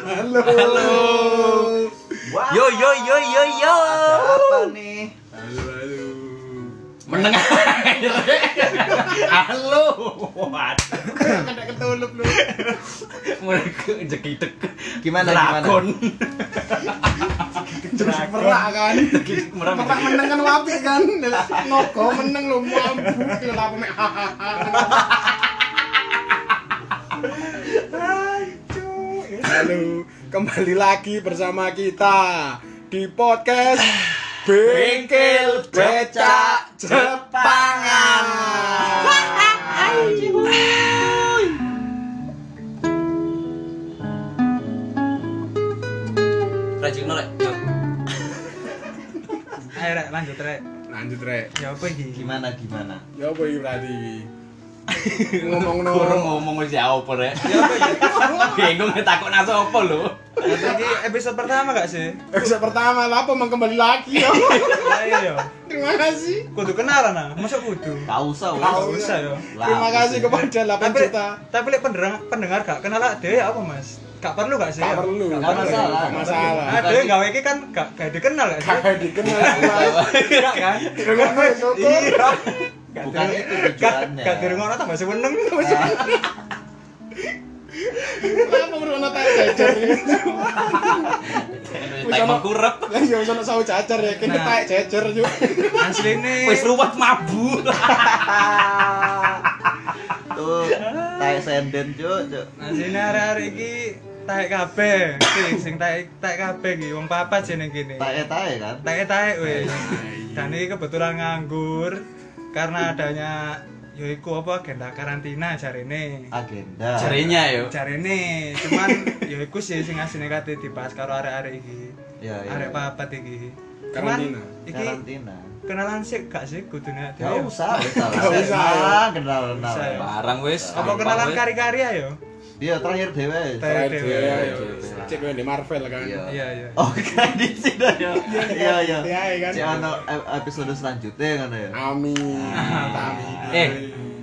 Halo. Halo. Wah. Yo yo yo yo yo. Ada apa nih? Halo, halo. Menengah. Halo. Waduh. Kena ketulup lu. Mereka jekitek. Gimana, Drakon. Terus merak kan. Merak. Merak meneng kan wapi kan. Nogo meneng lu mabuk lu apa mek. Halo, kembali lagi bersama kita di podcast Bengkel Becak Jepangan. Rajin nolak. Ayo rek, lanjut rek. Lanjut rek. Ya apa iki? Gimana gimana? Ya apa iki berarti? Ngomong no. Kurang ngomong wis ya opo rek. Bingung takut nasa opo lho. Iki episode pertama gak sih? Episode pertama lah apa emang kembali lagi ya. Ayo yo. Terima kasih. Kudu kenalan ah. Masa kudu? Gak usah wes. Gak usah yo. Terima kasih kepada 8 Tapi juta. tapi lek pendengar pendengar gak kenal lah dhewe apa Mas? Gak perlu gak sih? Gak ya? perlu. Gak gak masalah. perlu, gak masalah. Ah, dhewe gawe iki kan gak gak dikenal gak sih? Kakak dikenal. Mas. Gak kan? Dikenal, Mas. Syukur. Iya. Gak Bukan dirung- itu gak- tujuannya. Gak dirungokno tambah seneng. Kenapa perlu ono tak jajar? Tak kurep. Lah ya ono sawu jajar ya, kene Nah. tak jajar yo. Asline Wis ruwet mabu. Tuh, kayak senden cuk, cuk. Nah, sini hari-hari iki taek kabeh. Sing sing taek taek kabeh iki wong papat jeneng kene. Tae tae kan. Taek taek wis. Dan ini kebetulan nganggur karena adanya yaiku apa agenda karantina cari ini. Agenda. Jarinya yo. Cari ini cuman yaiku sih sing asine kate dibahas karo arek-arek iki. Ya, ya. Arek papat iki. Karantina. Cuman, iki Karantina. kenalan sih gak sih kudune Gak dhewe ya? usah, wes lah. Gak usah. Ah, kenal kenal. Usah, ya. Barang wis. Apa kenalan kari-kari ayo? Dia terakhir dhewe. Terakhir. Terakhir Dewe. dia, ya. Dewe. Cek yang di Marvel kan. Iya. Iya iya. Oh, kan di sini ya. Iya, iya. Iya, iya, kan. Cek ono e- episode selanjutnya kan ya. Amin. Nah. Amin. Eh,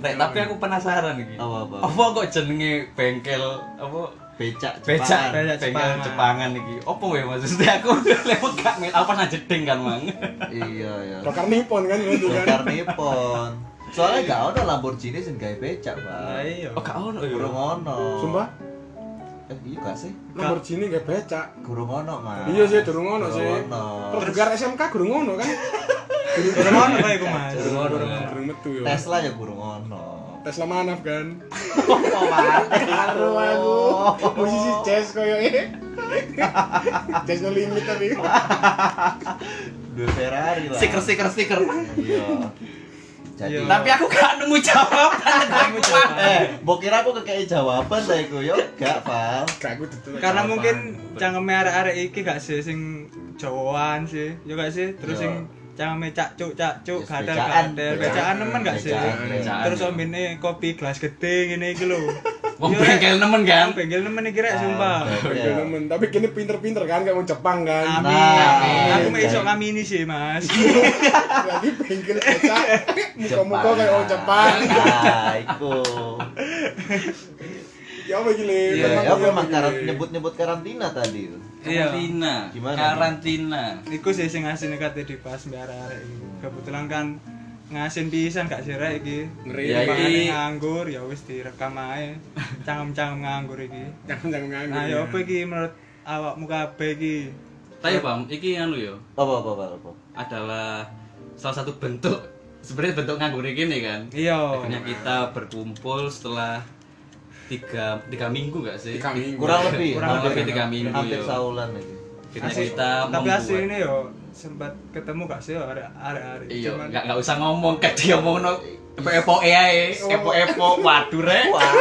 Rek, tapi aku penasaran iki. Apa, apa? Apa kok jenenge bengkel apa Becak becak becak Jepang. bengkel Jepangan. Jepangan iki. Apa wae maksudnya aku lewat gak mel apa najedeng kan, Mang. Iya, iya. Dokar nipon kan itu kan. Golkar Nippon. Soalnya gak ada Lamborghini sing gawe becak, Lah Pak. iya. Oh, gak ono ya. Kurang ono. Sumpah, Eh, iya gak sih? Lamborghini gak becak. Kurang ono, Mas. Iya sih, durung ono Durung sih. ono. Pergegar SMK durung ono kan. Durung ono kok iku Mas. Durung ono. Durung metu yo. Tesla ya kurang ono. Tesla Manaf kan. Kok Karo aku musisi jazz koyo e. Jazz no limit tapi. Dua Ferrari lah. Stiker stiker stiker. Iya. Jadi Iya. Tapi aku gak nemu jawaban. Kamu coba. eh, mbok kira aku kekei jawaban ta iku yo gak, Pak. Gak aku duduk. Karena Apa? mungkin cangkeme arek-arek iki gak sih sing Jawaan sih, yo gak sih? Terus Yo. sing cangkeme cak cuk cak cuk Yes, gadel becaan. gadel, Becaan. becaan nemen gak sih? Becaan, becaan. Terus ombine kopi gelas gede ngene iki lho. Wong Yo, Rek. bengkel nemen kan. Wong bengkel nemen iki rek sumpah. Gak Iya. demen. tapi kini pinter-pinter kan kayak mau Jepang kan. Amin. Ah, Nah, Aku mau iya. iso kami ini sih, Mas. Lagi pinggir becak. Muka-muka Jepang. kayak orang Jepang. Nah, iku. Ya apa gini? Iya, apa emang karan- nyebut-nyebut karantina tadi? Iya. Karantina. Gimana? Karantina. Iku sih sing asine kate dibahas mbek arek-arek iki. Kebetulan kan ngasin pisan gak sih rek iki. Ngeri. Ya, Makane iki. nganggur ya wis direkam ae. Cangkem-cangkem nganggur iki. Jangan-jangan nganggur. Nah, ya apa iki menurut awakmu kabeh iki? Tapi Bang, iki anu yo Apa apa apa? apa? adalah salah satu bentuk sebenarnya bentuk nganggur gini kan. Iya. Akhirnya kita berkumpul setelah tiga tiga minggu gak sih? Tiga minggu. Kurang lebih. ya? Kurang hampir- lebih tiga minggu, Hampir ya. saulan lagi. Akhirnya Asli- kita tapi membuat asli ini yo sempat ketemu gak sih arek arek arek Iya, nggak nggak usah ngomong kayak dia ngomong no epo epo ae, Oh. epo epo waduh re, Wah,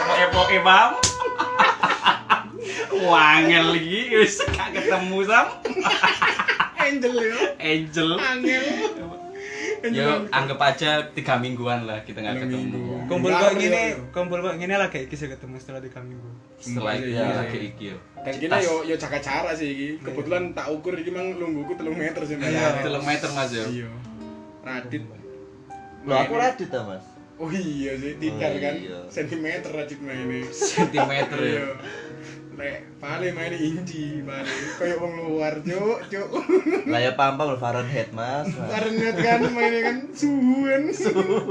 epo epo e bang. Wangel iki wis gak ketemu sam Angel ya. Angel. Angel. Yo anggap aja tiga mingguan lah kita Tiga nggak minggu. ketemu. kumpul kok Nggak, ngene iya, iya. kumpul kok ngene lagi iki sih ketemu setelah tiga minggu Setelah itu Iya. lagi iki yo. Dan kita yo yo jaga jarak sih iki. Kebetulan tak ukur iki mang lungguku 3 meter Nah, sih. Mas. Iya. Kilometer mas yo. Radit. lo aku radit ta, Mas. Oh iya sih tikar Oh, kan. iya. Sentimeter racik ini. Sentimeter ya. Iya. Lek paling main inci paling. Kayak wong luar cuk cuk. Lah ya pampang lho, Fahrenheit mas. Karena kan mainnya kan suhu kan.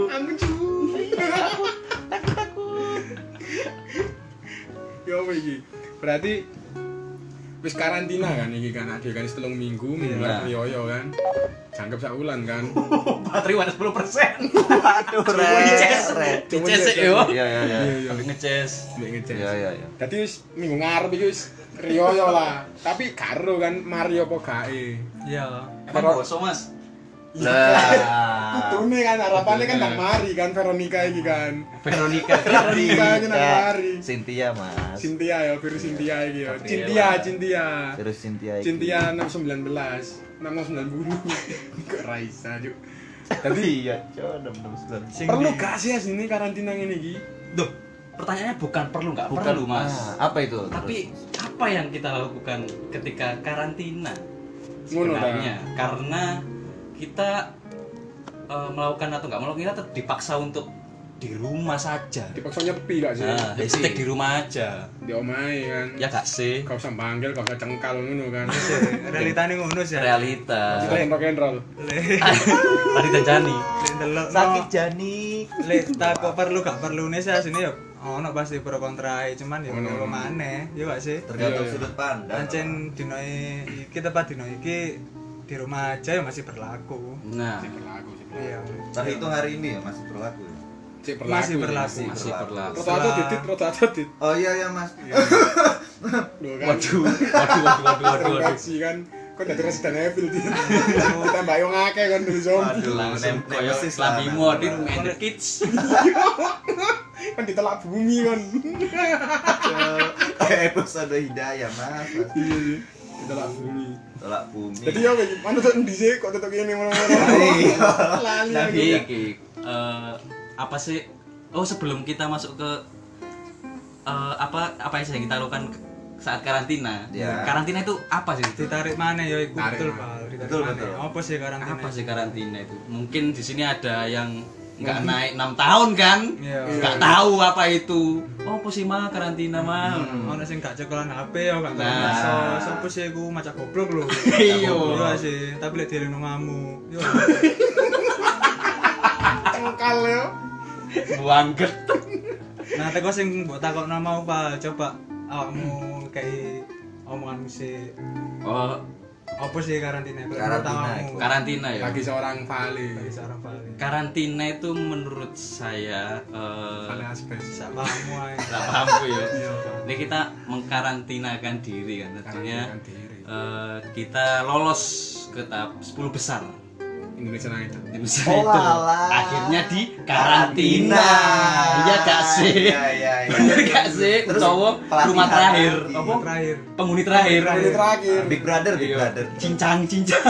Aku suhu. Ya apa iki? Berarti wis karantina kan iki kan ada kan setelung minggu Iya. mulai rioyo kan. Jangkep sak wulan kan. Oh, Baterai wadah 10 persen. Waduh, Dices, re. dices yo. Iya iya iya. Iya iya. Tapi ngeces. Mbek ngecek. Iya iya iya. Dadi wis minggu ngarep iki wis riyoyo lah. Tapi karo kan Mario apa gae. Iya. Kan bosok mas. Nah, Lah. Kutune kan harapannya kan nang mari kan Veronica iki kan. Veronica. Veronica iki nang Nah, mari. Cynthia mas. Cynthia ya, virus Cynthia iki ya. Gabriela. Cynthia, Cynthia. Terus Cynthia. iki. Cynthia 619. 690. Kok Raisa juk. Dadi Iya, coba enam enam sembilan. Sing perlu di- gak sih ya sini karantina ngene iki? Duh, pertanyaannya bukan perlu nggak perlu mas. Ah, apa itu? Tapi apa yang kita lakukan ketika karantina? Ngono ta. Sebenarnya karena kita eh, melakukan atau nggak melakukan kita tetap dipaksa untuk di rumah saja. Dipaksa nyepi gak sih? Nah, hashtag di rumah aja. Di omahe kan. Ya gak sih? Gak usah manggil, gak usah cengkal ngono kan. realitane ngono sih. Realita. Kita yang rock and roll. Le, Tadi Tanjani. le ndelok. Terus? no. sakit janik. Le, tak kok perlu gak perlu nih sih sini yo. Ono pasti pro kontra cuman ya Ono. ngono maneh, ya gak sih? Tergantung Iya, iya. sudut pandang. Ancen dino i- iki tepat dino iki di rumah aja ya masih berlaku. Nah, Sik berlaku, sik berlaku. Iya. Tapi itu hari ini ya masih berlaku. ya? Sik berlaku. Masih ya. berlaku. masih berlaku. Roto atau titit, roto atau titit. Oh iya ya mas. Duh kan. Waduh, waduh, waduh, waduh, waduh, waduh. Reaksi kan. Kok jadi Resident Evil di. Kita bayong akeh kan dari zombie. Waduh, Langsung nem- koyo nemesis lah, Slappy Mas. Mo di Room and the Kids. Kan ditelak bumi kan. Eh, Episode hidayah mas. Mas. Iya, iya. Ditelak bumi. Tolak bumi. Jadi ya kayak mana tuh di sini kok tetep gini mana-mana. Iya. Lali lagi. Tapi- Jadi iya. eh, apa sih? Oh sebelum kita masuk ke eh, apa apa yang kita lakukan ke- saat karantina? Iya. Karantina itu apa sih? Itu? Ditarik mana ya iku Tarik betul, maneh. Pak. Ditarik Betul, maneh. betul. Apa sih karantina? Apa sih karantina itu? Mungkin di sini ada yang nggak naik enam tahun kan? Iya. Nggak tahu apa itu. Oh apa sih mah karantina mah? Ono sing gak cekolan HP ya gak Nah. ngerasa. Sopo sih iku macak goblok lho. Iya. Iya sih, tapi lek dieling omamu. Yo. Tengkal ya. Buangket. Nah, teko sing mbok takokno mau Pak, coba awakmu kayak omonganmu sih. Oh Apa sih karantina? Kalau Karantina pertamamu, iku. karantina ya. Bagi seorang Vale. bagi seorang Pak. Karantina itu menurut saya eh, Vale Asbes. Sak pahamu ae. nggak paham gue ya. Ini kita mengkarantinakan diri kan tentunya Karantina diri. eh, kita lolos ke tahap 10 besar. Indonesia Idol. Indonesia Oh, itu alah. akhirnya di karantina. Iya gak sih? Iya iya. iya. Bener gak sih? Terus Cowok pelatihan rumah terakhir lagi. apa? Terakhir. Penghuni terakhir. Ini terakhir. Big Brother, Big Iya. Brother. Cincang, cincang.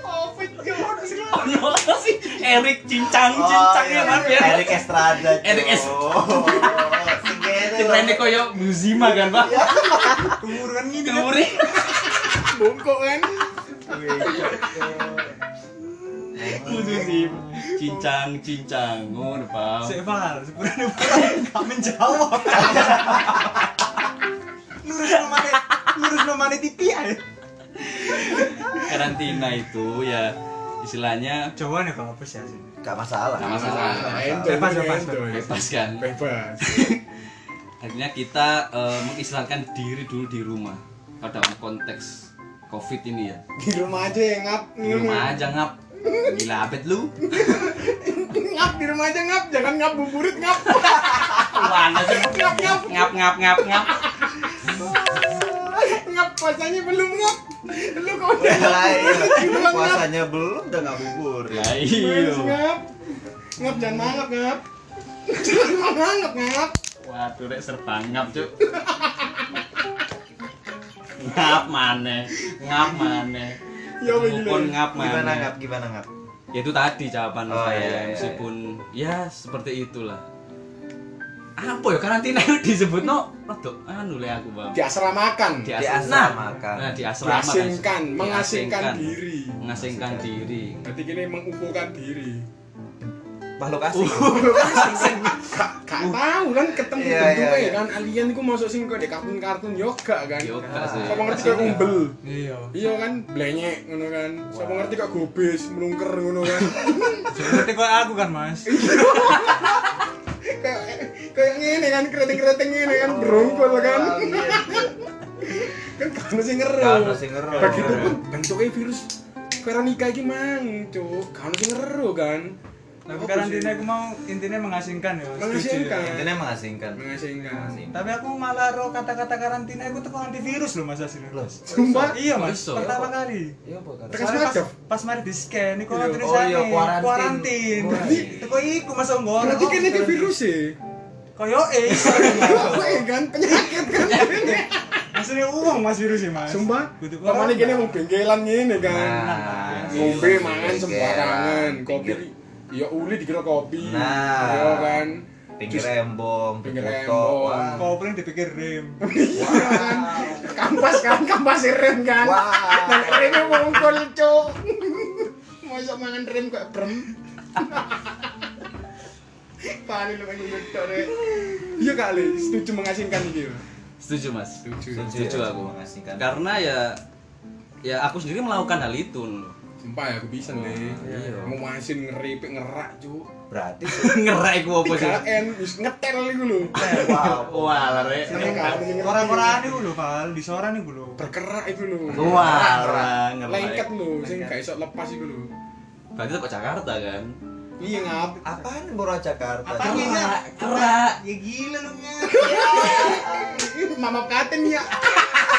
Oh, Ono sih Erik cincang, Oh, cincang ya Mas. ya. Erik iya, Estrada. cuy. Erik Est- Oh, segede loh. Keren koyo Muzima kan, Pak? Kemur kan gini kan. Kemuri. Bongkok kan. Muzima. Cincang, cincang. Ngono, Pak. Sik Pak, sepurane Gak menjawab. lurus nomane, lurus nomane tipi ae. karantina itu ya istilahnya Jawane kok apa sih asine? Gak masalah. Gak masalah. Gak Ah, Enjoy, Bebas, bebas, enjoy. bebas kan Bebas. akhirnya kita eh, mengistilahkan diri dulu di rumah pada konteks covid ini ya Di rumah aja ya ngap. di rumah aja ngap gila abet lu ngap di rumah aja ngap jangan ngap buburit ngap mana sih ngap ngap ngap ngap ngap ngap ngap puasanya belum ngap lu kok udah Lah, iya. Belum ngap Puasanya belum udah gak bubur. ya Wes, iyo ngap ngap jangan mangap ngap jangan mangap ngap waduh rek serba ngap cuk ngap mana ngap mana Ya, begini. Mukul ngap Gimana mana ngap? Gimana ngap? ya itu tadi jawaban Oh, saya iya, iya, meskipun ya seperti itulah apa ya karantina itu disebut no rodok anu le aku bang diasramakan Di as- asramakan. nah, nah, di asrama kan. diasingkan mengasingkan Diasingkan. diri mengasingkan diri berarti kini mengumpulkan diri makhluk asing Uh, gak gak tahu kan ketemu Iya, bentuknya iya, iya. kan alien ku masuk sing kok di kartun-kartun yoga kan yoga sih Siapa ngerti kok umbel iya iya kan blenyek ngono kan Siapa ngerti kok gobes melungker ngono kan seperti kayak aku kan mas kayak kayak ngene kan keriting-keriting ngene kan berongkol kan kan gak ono sing Iya. Gak ono ngeru sing ngeru. Begitupun bentuknya virus Veronica iki mang, cuk. Gak ono sing ngeru kan. tapi Apa karantina sih? aku mau intinya mengasingkan ya Mas. Setuju ya? Mengasingkan. Intinya mengasingkan. Mengasingkan. tapi aku malah roh kata-kata karantina aku teko antivirus loh mas Asri Loh. Sumpah. iya mas Iso. pertama kali Iya, Pak, karena- Tekan Soalnya pas, semacam? pas mari di scan iku Iya. tulisane Oh iya, kuarantin. kuarantin. Berarti teko iku Mas Onggor. Berarti kan iki Oh, virus e. Koyo eh. Kowe kan penyakit kan. Asline uang Mas virus sih Mas. Sumpah. Butuh Pamane kuarantin. kene mau bengkelan ngene kan. Nah, Ngombe iya, mangan iya, sembarangan, iya. kopi ya uli dikira kopi. Nah. Iya kan. pinggir embong, Pinggir foto, embong. wah. Kopling dipikir rem. Iya kan. Kampas kan, kampas rem kan. Wah. Dan remnya mongkol, cuk. Masa mangan rem kok brem. Paling lu pengen gedok rek. Iya kali, setuju mengasingkan iki. setuju mas Setuju. setuju ya, aku mengasingkan. karena ya ya aku sendiri melakukan hal itu loh. Sumpah ya aku bisa nih. Iya. Mau asin ngeripik ngerak, cuk. Berarti ngerai gua apa sih 3N wis ngetel iku lho. wow. wah lare Orang-orang iku lho, Val, di soran iku lho. berkerak iku lho. Wah, ngerak. lengket lho, sing gak iso lepas iku lho. berarti kok Jakarta kan Iya ngap. Apaan Bora Jakarta? Apaan ini? Kerak, kerak Ya gila lu nya. Ih, Mama katen ya.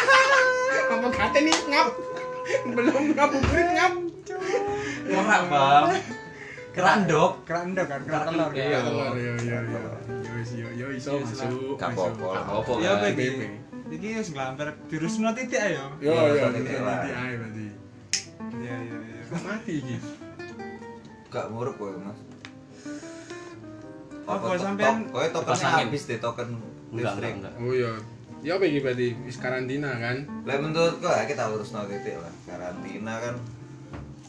Mama katen nih ngap. Belum ngabuburit ngap. kerak bang kerak dok Keranda kan, keranda Kerak telur. telur, Iya. iya. Yo yo yo. Yo wis, yo yo iso Iya, masuk. Gak masuk. apa-apa lah. apa Iya, kan apa iki? BB. Iki wis nglampir virus no titik ayo. Yo yo. Iya, masuk Nanti titik lah. ae berarti. Iya, iya, iya. Kok mati iki? Gak nguruk kowe, Mas. Oh, kok Apa to- sampean- to- kowe tokennya Pasangin. habis deh token enggak enggak listrik. enggak Oh iya. Ya apa iki berarti wis karantina kan? Lah menurutku lah kita urus no titik lah. Karantina kan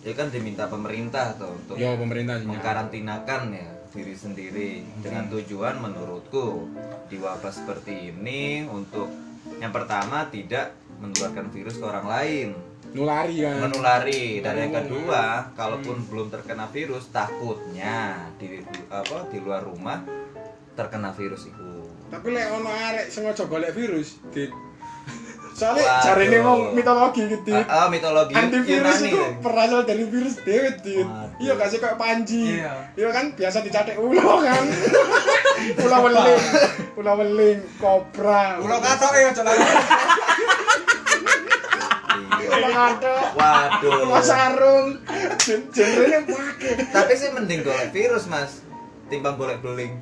ya kan diminta pemerintah toh untuk Yo pemerintah mengkarantinakan ya diri sendiri dengan tujuan menurutku di wabah seperti ini untuk yang pertama tidak menularkan virus ke orang lain nulari kan. menulari dan yang ya. kedua kalaupun Hmm. belum terkena virus takutnya di apa di luar rumah terkena virus itu Tapi lek ono arek sengaja golek virus, Dit. Soalnya Waduh. jarene wong mitologi gitu. Dit. Ah, ah, mitologi antivirus Yunani itu ya. berasal dari virus David Dit. Waduh. iya kasih kayak panji Iya. iya kan biasa dicatek ulo kan ulo weling ulo weling kobra Ulo katok ya ojo lali. Iya. ulo katok ulo waduh sarung jendernya pakai tapi sih mending golek virus mas timbang golek beling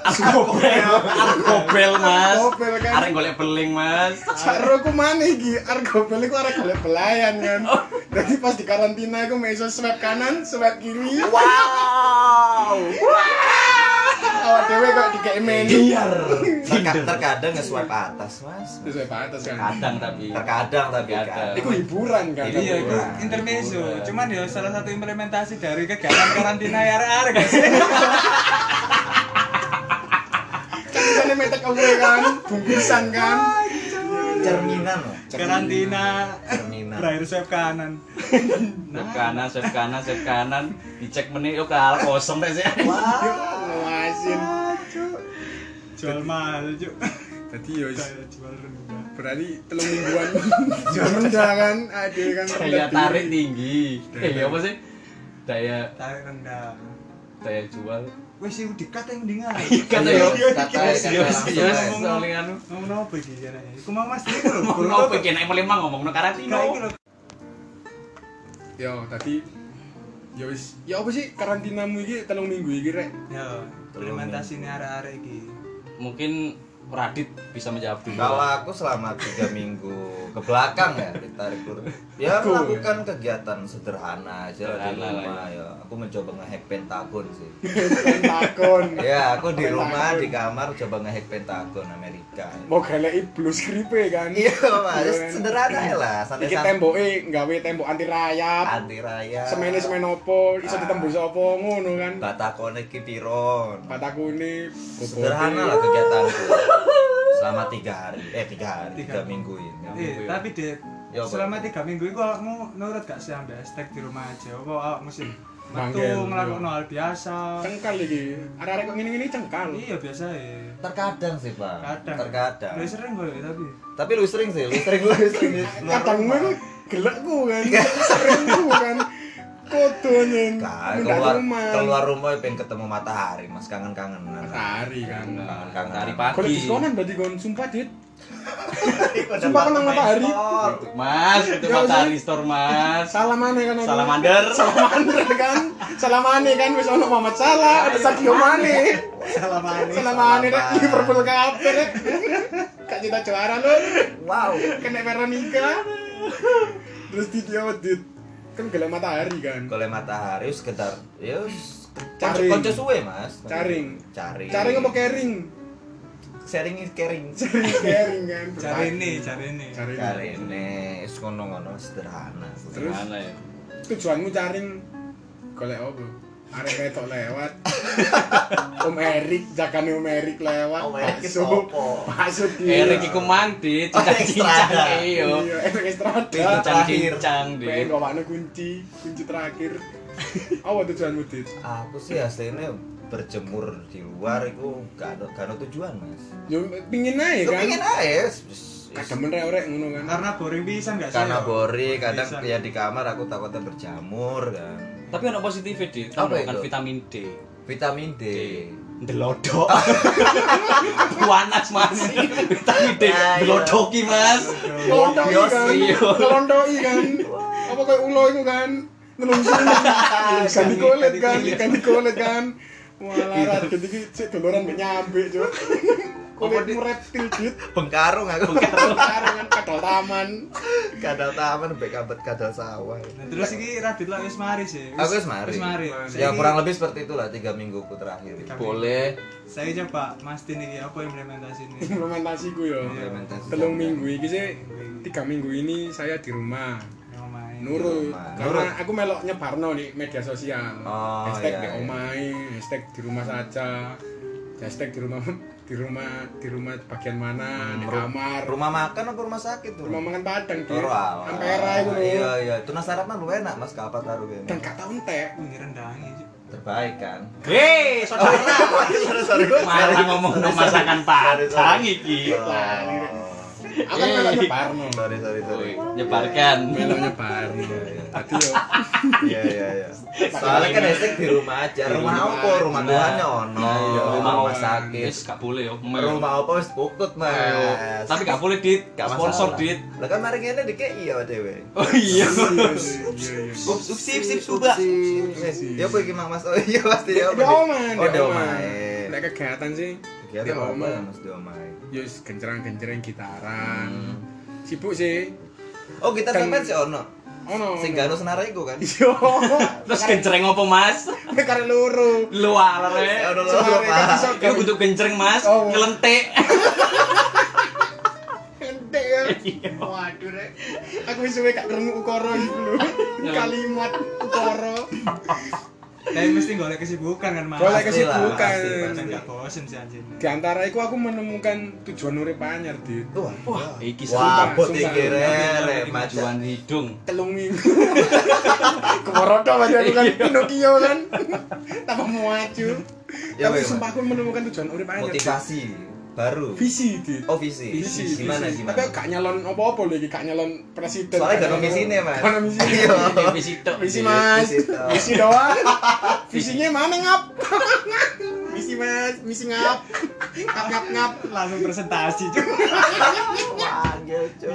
Argobel mas Argobel, kan? arek golek beling mas Sarung ku mana iki? Argo beli ku arek golek pelayan kan. Oh. Jadi pas di karantina aku meso swab kanan, swab kiri. wow Awak dhewe kok dikei menu. Iya. Terka- terkadang nge-swipe atas mas Itu swab atas kan. kadang tapi terkadang tapi kan. Terkadang. kadang. Iku hiburan kan. Iya, itu Hiburan. intermezzo. Hiburan. Cuman ya salah satu implementasi dari kegiatan karantina ya arek guys. Kan misalnya metek away kan, bungkusan kan. cerminan loh Karantina cerminan berakhir swab kanan. Swab kanan, swab kanan, swab kanan, dicek menit yo kal kosong tes ya. Yuk, ngawasin. Ah, Jual mahal, Cuk. Tadi yo Kayak Jual rendah. berarti telung mingguan jual rendah kan, aduh kan rendah Daya tarik diri. tinggi. Eh apa sih? Daya Tarik rendah. daya jual. Wes iku dikat yang Iya, mendingan. Kata yo, kata yo, yo langsung, soalnya anu. Ngomong apa iki jane? Iku mau Mas iki lho. Mau nopo iki nek mulai mah ngomongno karantina. Kayak iki Ya, lho. Yo, tadi yo wis, ya apa sih karantinamu iki telung minggu iki rek? Ya, implementasi ini arek-arek Ya, iki. Mungkin Radit bisa menjawab dulu. kalau aku selama tiga minggu ke belakang ya ditarik turun ya Aku. melakukan kegiatan sederhana aja lah di Sederhana lah, rumah ya aku mencoba ngehack pentagon sih Pentagon. ya aku Pentagon. di Oh. rumah di kamar coba ngehack pentagon Amerika Mau galai blus kripe kan. iya mas sederhana ya lah Iki santai-santai temboke nggawe tembok anti rayap. anti raya Semene semen opo, iso Ah. ditembus apa ngono kan. batakone iki piron Batakune sederhana lah kegiatanku selama tiga hari eh tiga hari Tiga. tiga minggu ini Eh, tapi deh Ya, apa? selama tiga minggu itu awakmu nurut gak sih ambil hashtag di rumah aja apa awak mesti metu Manggil, ngelakuin iya. hal biasa cengkal iki. Arek-arek kok ngene-ngene cengkal. iya biasa ya terkadang sih pak kadang terkadang Lu sering gue tapi tapi lu sering sih lu sering lu sering di luar Kadang rumah. gue gelekku kan. Seringku kan. Kodonya. Kan, Mundak keluar rumah. keluar rumah pengen ketemu matahari mas kangen kangen Matahari kan. kangen Hari Kalau pagi. diskonan berarti gon sumpah dit. Sumpah Sumpah kenang matahari. Mas, itu Ya, matahari store, Mas. Salamane kan aku. Salamander. Salamander kan. Salamane kan wis ono Muhammad Salah, ada Sadio Mane. selama Salamane rek Salaman. Liverpool kabeh rek. Kak cita juara lu. wow Kena Veronica. Terus di dia dit. Kan gelap matahari kan. kalau matahari sekedar ya wis, Caring. konco konco suwe mas Caring. caring Cari ngomong caring. sharing is caring Caring kan. cari ini cari ini Cari. cari ini ngono ngono sederhana Terus? Mana ya? Tujuanmu caring golek opo? Arek ketok lewat. Om Erik, jakane Om Erik lewat. Om Erik ki Masuk. sopo? Masuk dia. Erik iku mandi, Oh, Estrada. cincang-cincang iyo. Iya, Erik Estrada. Pintu terakhir. Cincang-cincang Pengen di. gak makna kunci, kunci terakhir. Apa tujuanmu, Dit? aku sih aslinya berjemur di luar itu gak ada, gak ada tujuan mas Yo pingin aja itu kan. pengen aja ya, s- s- Kadang men rek ngono kan. karena boring pisan gak sih karena ya? boring kadang Pisan. ya di kamar aku takutnya berjamur kan Tapi ono positif di, Apa kan itu? vitamin D. vitamin D Delodok. Panas, Mas. Vitamin D Ayo. delodoki, Mas. Ngelondoi Bios, kan. iya. Ngelondoi kan. Apa kayak ulo itu kan. Nelungsun. Ikan di kulit kan, ikan di kulit kan. Walah, gitu iki sik doloran mek nyambe, Cuk. Kulitmu reptil, Dit. bengkarung aku Karangan kadal taman. kadal taman baik kabet kadal sawah Nah, terus iki Radit lah wis mari sih. aku wis mari Wis mari. ya kurang lebih seperti itulah tiga mingguku terakhir Boleh. Saya coba mastiin iki apa implementasi ini. Implementasiku yo. Implementasi. Telung minggu iki sih tiga minggu ini saya di rumah. nurut Rumah. karena Nurut. aku melok nyebarno di media sosial Oh, hashtag iya, di iya. omai hashtag di rumah saja hashtag di rumah di rumah di rumah bagian mana di Ru- kamar rumah, rumah makan apa rumah sakit tuh makan padang di Toro awal. ampera itu loh iya iya tuna sarapan lu enak mas kapan taruh dan gak tau entek Ini rendangi. Cuk. terbaik kan Hei, saudara. sorry sorry Malah ngomong no masakan padang Iya. iki. aku kan melok nyebarno Oh, sorry sorry sorry Woi, Nyebarkan. melok nyebarno tadi yo iya iya iya soalnya kan hashtag di rumah aja rumah apa rumah Tuhan nyono Iya, rumah rumah rumah sakit Wis gak boleh yo. rumah apa wis pukut mas Tapi gak boleh dit, Gak masalah. sponsor dit. lah kan mari ngene dikek iya dewe Oh iya. iya, Ups, ups, sip, sip, suba. Ya apa iki Mang Mas? Oh iya pasti ya. di oman Oh, di di oman Oman. Nek kegiatan sih Kegiatan di apa Oman. Mas di Omai? yo gencerang-gencerang gitaran Hmm. sibuk sih Oh, gitar Kan- sampean sih ono. ono Sing gak ono senara iku kan. yo Terus gencereng apa mas? Nek karek loro Lu Iya, arek. Ono loro, Senare kan Pak. iso Kau butuh gencereng mas, Oh. ngelentik. Entek ya. Iya. Waduh rek. Aku wis suwe gak krungu ukara iki lho. Ya. Kalimat ukara. Tapi mesti golek kesibukan kan mas. Golek Pasti lah, kesibukan. pasti, Pasti pasti. gak bosen sih anjir. Di antara iku aku menemukan tujuan urip anyar, Dit. Wah, wah, iki wah, sumpah, bot sumpah. iki rere, Ini macan. Tujuan hidung. Telung minggu. Kemorodo mas aku Iya. kan Pinocchio kan. Tambah maju. Ya, Tapi weh, sumpah aku menemukan tujuan urip anyar. Dit. Motivasi baru. Visi, Dit. Oh, visi. Visi, Gimana visi. gimana? Tapi aku gak nyalon apa-apa lho iki, gak nyalon presiden. Soalnya gak gak ono nyalon- misine, Mas. Gak ono misine. Iya. Visi tok. Visi mas, Visi toh. visi doang. Visinya mana ngap? Visi mas, visi ngap, ngap ngap ngap. Langsung presentasi cuk. Iya, Wah, gel, Cok.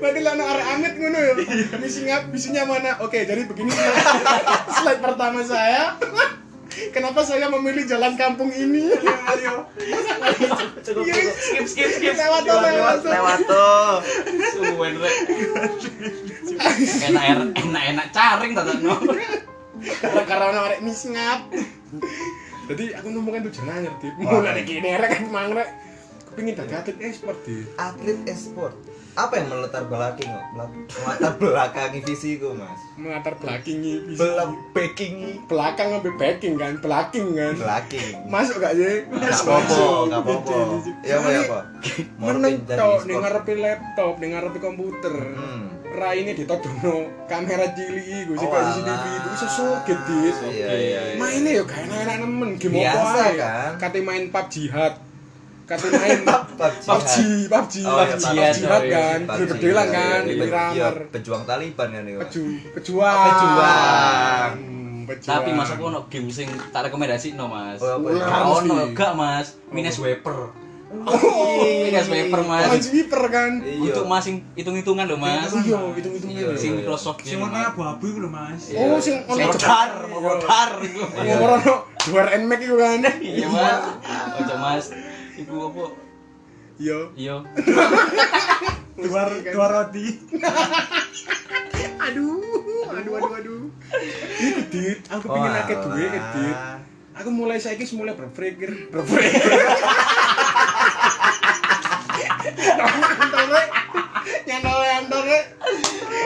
Berarti lah anak arek amit ngono ya. Iya. Visi ngap, visinya mana? Oke, jadi begini slide pertama saya. kenapa saya memilih jalan kampung ini? Iya, ayo Cukup, cukup. Skip, skip, skip. Lewat tuh, lewat tuh. lewat tuh Suwen rek. Enak enak-enak caring tata no. Karena karena arek misngap. Jadi aku nemukan tujuan anyar di mulai dari gini arek kan mang rek. Kepingin dadi atlet e-sport di. atlet e-sport apa yang meletar belakang melatar belakangi visiku mas Mengatar belakangi. belakangi belakang sampai backing kan, belaking kan. belaking Masuk gak sih? Gak Masuk. apa-apa, gak apa-apa. Jadi, Ya apa ya apa. Mau Meneng pindah tok e-sport. ning ngarepe laptop, ning ngarepe komputer. Hmm. Raine ditodono kamera cilik iku sing Oh, kayak CCTV alah. iku iso soget dit. Iya iya. iya. Mainnya ya? yo gak enak-enak nemen game apa Biasa, ae. kan? Kate main PUBG jihad. Kate main PUBG. PUBG, PUBG, Oh, iya, PUBG PUBG, jihad iya. kan, PUBG, berbedelan iya, kan, iya, di iya. Iya, ramar. pejuang Taliban kan itu. Peju, pejuang. Pejuang. Hmm, pejuang. Tapi mas aku ono game sing tak rekomendasi no mas. Oh, apa? Ular. Gak Harus ono di- gak mas. Mines Wiper. Oh, Mines Wiper Oh, mas. sniper kan. Iya. Untuk mas sing hitung-hitungan loh mas. Hitung-hitungan. Iya, hitung-hitungan. Iya. ya. Sing Microsoft sing warna abu-abu itu loh mas Iya. Oh, sing ono Modar, modar. Iya. Ngomorono duar and make iku kan. Iya mas. Ojo mas. Iku apa? Iya. Iya. luar Mesti kan. luar roti Aduh, aduh aduh aduh. Iku dit, aku pengen Wah, akeh duit alah. dit. Aku mulai saiki wis mulai berpikir, berpikir. Nyantole, nyantol nyantol rek.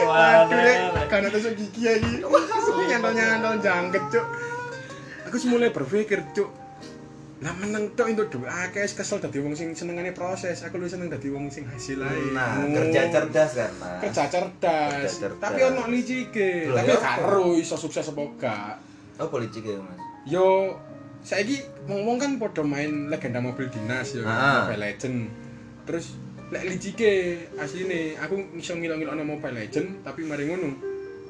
Aduh rek, karena tusuk gigi lagi. Nyantol nyantol jangket cuk. Aku wis mulai berpikir cuk. Lah meneng tok entuk duit akeh wis kesel dadi wong sing senengane proses. Aku luwih seneng dadi wong sing hasil ae. Nah, Oh. kerja cerdas kan, Mas. kerja cerdas, Kerja cerdas. tapi ono licike Lho, tapi ya gak apa? ero iso sukses apa gak Oh, politik ya, Mas. yo saiki ngomong kan podo main legenda mobil dinas yo Ah. Mobile Legend terus lek licike asline aku iso ngilok-ngilokno Mobile Legend tapi mari ngono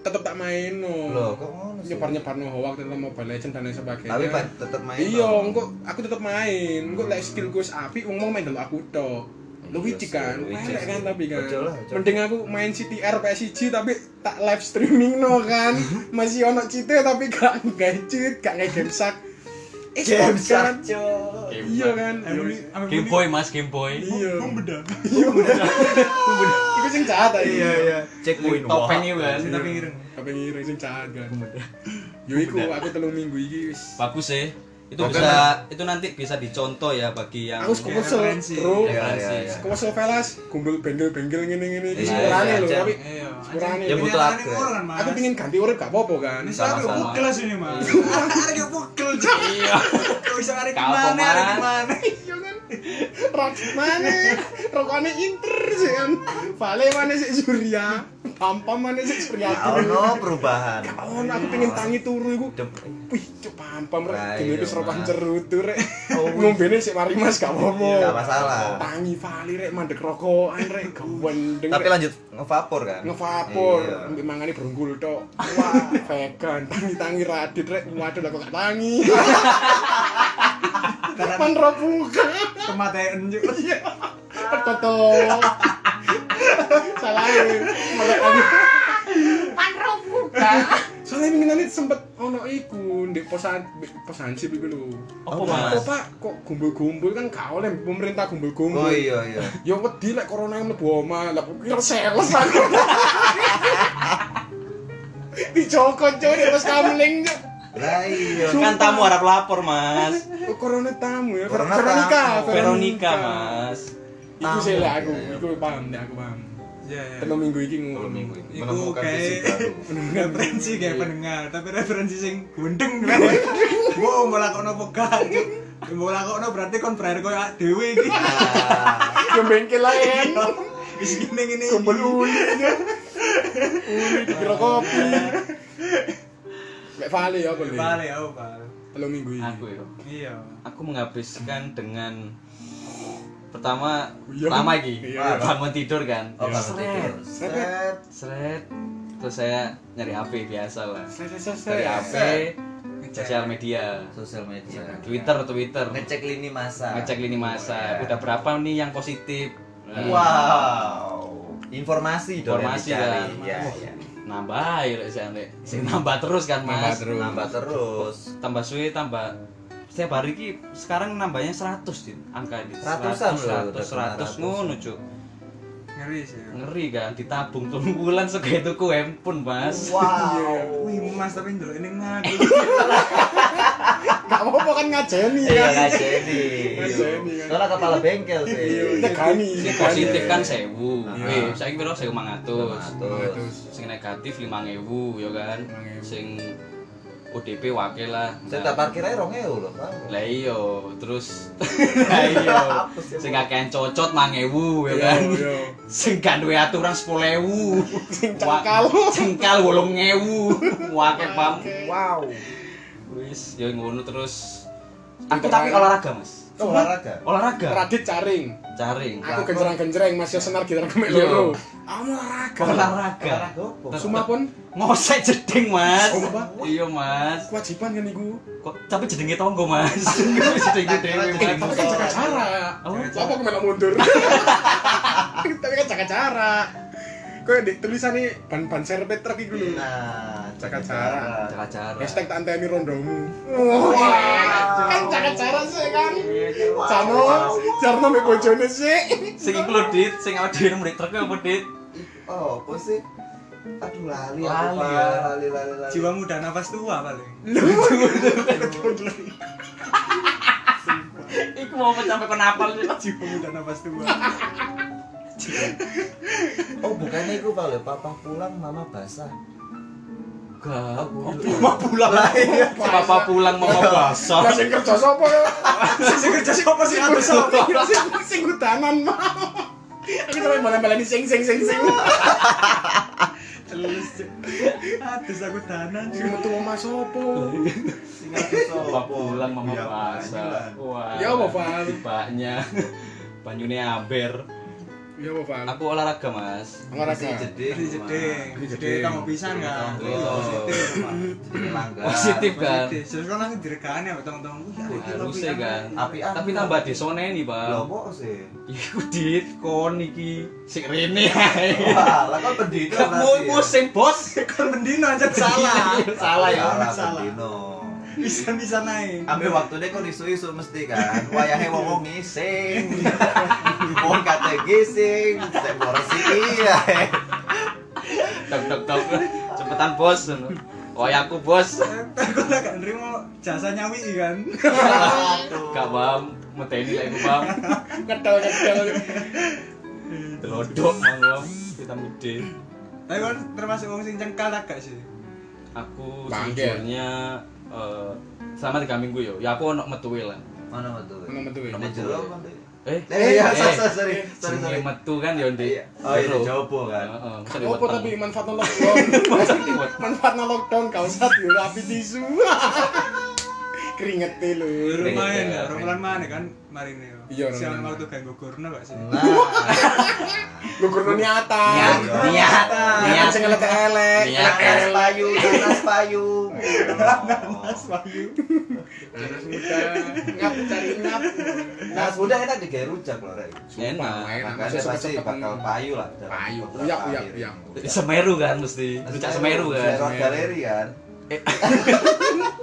tetep tak main Loh, no kok ngono sih? nyebar-nyebarno hoax tentang Mobile Legend dan lain sebagainya Tapi Pak tetap main. iya dong. engko aku tetep main engko lek skill gue api wong mau main dulu aku tok Iya Luwih sih, kan, luwih elek sih. kan tapi kan. Ojo lah, ojo. Mending aku main CTR PSG tapi tak live streaming no kan. Masih ono cheat tapi gak gak cheat, gak nge game sak. Eh, Game sport kan. Shark, Cok. Iya kan. Ambil- ambil Game Boy mas, Game Boy. Iya. Bom bedak. Iya udah. Iku sing jahat ae. Iya, iya. Cek win Topeng itu Iya, kan. tapi ireng Tapi ngira sing jahat kan. Yo iku aku telung minggu iki wis. Bagus sih. Itu Oke, bisa itu nanti bisa dicontoh ya bagi yang Aku referensi. kesel, referensi. bro. Iya, iya, iya. Kewesel velas, gumbel bendel-bendel ngene-ngene iki Iya, sepurane iya, lho, Jan. tapi iya anjing. sepurane. Ya, Ini butuh anak-anak upgrade. orang, Mas. Aku pingin ganti urip gak apa-apa kan. Iya, Ini saya Sama-sama. mau kelas ini mas. Iya. Ada yang pukel jadi. Iya. Kau bisa ada Kau apa, kemana? Ada Mas? kemana? Iya kan? Rod mana? Rokokane Inter sih kan. Vale mana sih Surya? Pampam mana sih Surya? Oh, no perubahan. Oh, aku pengen tangi turu iku. Dem- Wih, cuk pampam Lah, rek. Dene iya, wis rokokan Mas. cerutu rek. Oh, Iya, wih. Ngombene sik mari Mas gak Gak apa-apa. masalah. Tangi Vale rek mandek rokokan rek gawendeng. Tapi lanjut ngevapor kan? Iya. ngevapor, Iya. mbek mangane brunggul tok. Wah, vegan, tangi-tangi radit rek. Waduh, lah kok gak tangi. Kapan ro buka? Kematian Iya, juga. Toto. Salah ini. Malah aku. Panro buka. Soalnya minanit sempet ono iku ndek posan posansip iku lho. Apa, Mas? Kok Pak kok gumbul-gumbul kan gak oleh pemerintah gumbul-gumbul. Oh iya iya. Ya wedi lek corona yang mlebu omah, lek kira sales aku. Dicokot coy, terus kamling coy. Lah iya. Kan tamu harap lapor mas. Oh, Corona tamu ya. Corona Veronica, tamu. Veronica mas. Iku sih Tamu. lek aku, Iya, iya. iku paham, lek aku paham. Ya ya. Telu minggu iki ngono. Kalau minggu ini Iku menemukan kayak- gitu. sisi baru. Referensi kayak pendengar, tapi referensi sing gundeng kan. Wow, mau lakokno pegang. Cuk. Mau lakokno berarti kon berakhir koyo awak dhewe iki. Ah, Yo bengkel lah em. Wis gini ngene. Kumpul uli. Uli dikira kopi. Mek vale ya aku. Balik ya, Pak. Telu minggu iki. Aku ya. Iya. Aku menghabiskan dengan pertama Iya. pertama lagi Iya. bangun tidur kan. Oh, bangun Seret, tidur. seret, seret. Terus saya nyari HP biasa lah. Nyari HP, Selesai. sosial media, Sosial media. Iya, Twitter, Twitter. Ngecek lini masa. Iya. ngecek lini masa udah berapa nih yang positif Nah, Wow. informasi dong yang Informasi, dicari. kan. Ya, Wah. ya. nambah air sampe sing nambah terus Iya. kan Nambah mas terus. Nambah terus. tambah suwe tambah setiap hari ki sekarang nambahnya 100 din angka ini Ratusan loh, 100 udah 100 kena ngono cuk Ngeri sih. ngeri kan ditabung telung bulan segitu ku handphone mas Wow. Wih, Mas tapi ndelok ini ngaku. Gak apa-apa kan ngajeni Iya kan. nggak jadi. Ngajeni, kan. Soalnya kepala bengkel iya. sih. Nyegani. Sing nyegani. positif kan 1000 eh Iya. saiki piro 1500 Terus. sing negatif 5000 ya kan 5.000. sing ODP wakil lah Saya tak parkir aja rong ewu loh. Pak. lah iya terus lah iya Hapus ya, sing Bu. kakean cocot 5000 ya Yo, kan yo. sing gak duwe aturan 10000 iya. Sing cengkal. Wa- cengkal 8000 wakil pam Wow. wis ya ngono terus Aku aku tapi tapi olahraga mas Olahraga. olahraga Radit caring. jaring Aku genjerang-genjerang masih senar gitar kemek Iya. loro. Aku olahraga. Oh, olahraga apa? Suma pun ngosek jeding mas Sumpah? iya mas kewajiban kan iku. Kok, tapi jedenge tonggo mas jedenge dewe Eh, mas Tapi kan jaga Sholat. jarak. Oh, Lah, Apa aku melok mundur? Tapi kan jaga jarak. Kau yang di tulisan nih ban-ban serpet truk iku lho. Nah, Jaga jarak. Jaga jarak. Hashtag tak anteni rondomu. Wah, kan jaga jarak sih kan. Jarno, Jarno mek bojone sih. sing iku lho dit sing awak dhewe mrek trek apa dit Oh, apa sih? Aduh lali, aku, Lali, Pak. ya. lali, lali, lali. Jiwa muda nafas tua paling. iku mau sampai kenapa lu Jiwa muda nafas tua. Oh, bukannya itu Pak, lho. papa pulang, mama basah. Gak, Oh, mau pulang Iya. lah Papa pulang mau basah Lah sing kerja sapa ya? Sing kerja siapa sih aku Sing- sopo? sing- Sing hutanan mau. Aku sampe malam-malam sing sing sing sing. Terus. Aduh, aku danan. Sing metu omah sapa? Papa pulang mama Iya, basah Wah Ya, apa, Pak? Banyak Banyune amber Iya, apa, Pak? Aku olahraga mas Si Olahraga. jeding, Jadi jeding. Jeding kamu pisan kan. Oh, jadi langgar. Positif kan Positif. Terus kan langsung direkani sama teman-teman. Wih, ada kita Harusnya pisan. kan Apian. Tapi tambah desone nih Loh, bang kok sih? Iku dit kon iki Sik rene ae Wah, lah kan pendino berarti. Kamu musim bos Kan bendino aja Salah salah. Salah ya Salah, Salah. pendino. Bisa-bisa naik. Ambil waktunya kok isu-isu mesti kan. Wayahe wong wong ngising. Wong kate gising, sek porsi iya. Tok tok tok Cepetan bos Oh ya aku bos Aku lah gak nerima jasa nyawi kan. Gak paham Meteni lah iku paham Ngedol ngedol. Telodok mangom Vitamin D Tapi kan termasuk wong sing cengkal tak gak sih? Aku Bangke. sejujurnya eh, Selama tiga minggu yo Ya aku ono metuwe lah Mana metu? Mana metu, ya? Ini jero apa? Dek? Eh Eh, iya, eh, sorry, sorry, sorry, sorry, jenenge sorry. metu kan yo ndek Oh, iya, Jero. jopo kan. Heeh, masa Apa diweteng. tapi manfaatnya lockdown? Manfaatnya lockdown kau sat yo rapi tisu. Keringet lho. Lumayan ya, romulan mana kan marine. Iya, orang Siang mana. Iya. waktu gak gugurno gak sih? Nah, Gugur Niat, niatan. niat, Niat niat. sing elek-elek. Niat. nanas elek-elek. payu, nanas payu. Mas Wahyu. Nanas muda, ngap cari ngap. Nanas muda Nah, enak digawe rujak loh, Rek. Sumpah, Enak. enak. Makanya Masuk pasti sepet-sepet bakal payu lah. dalam Payu, beberapa uyak, uyak, hari. uyak. Semeru kan mesti. Rujak Semeru kan. Semeru galeri kan.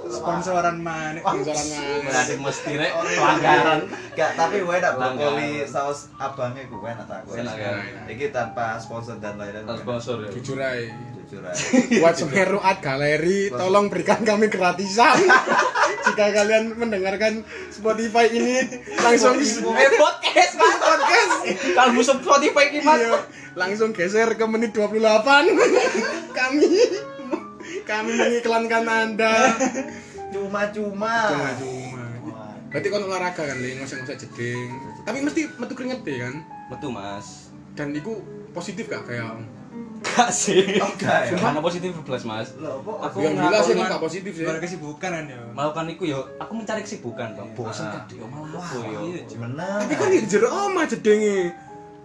Sponsoran mana? Pancoran Berarti mesti rek Oh, pelanggaran. Gak, tapi gue enak Pelanggaran. brokoli saus abangnya gue enak tak gue. Enak, kan? Ini tanpa sponsor dan lain-lain. Tanpa Sponsor ya. Jujur ae. Jujur aja. Buat Semeru Art Galeri, tolong berikan kami gratisan. Jika kalian mendengarkan Spotify ini, langsung Eh podcast mas. podcast. Kalau musuh Spotify iki mas. Iya, langsung geser ke menit 28. kami kami mengiklankan Anda. Cuma-cuma. Cuma-cuma. Berarti kon olahraga kan, Li, ngosek-ngosek jeding. Tapi mesti metu keringet deh kan. Metu mas. Dan itu positif gak kayak Gak sih. Oke. Karena positif plus mas. Oh, ya? Loh, kok Aku yang jelas sih melakukan- gak positif sih. Baru kesibukan kan ya. melakukan itu yo aku mencari kesibukan bang bosan Ah. kan yo malah Wah, aku yo kan gimana? Tapi kan yang jero omah jedenge.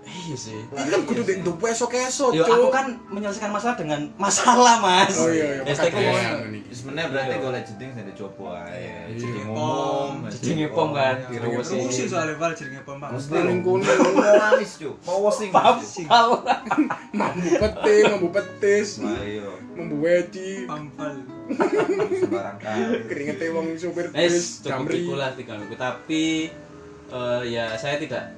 Iya sih. Ini kan kudu dek ndupu esok-esok, Yo, Cuk. aku kan menyelesaikan masalah dengan masalah, Mas. Oh iya, iya, Hashtag makanya. ngomong. Sebenarnya Iya. berarti golek jeding sing dicoba ae. Iya. Jeding Iya. ngomong, Jeding ngepom kan, direbus. diruwesi. Rusi soalnya pal jaringnya pom pak. Mesti Paling kuning. nangis, Cuk. Powosing. Paham? Paham. mambu peti, mambu petis, Ayo, mambu wedi, Pampal. sembarang kali. keringete wong sopir Wes bis cukup jamri. iku lah tiga minggu tapi eh, ya saya tidak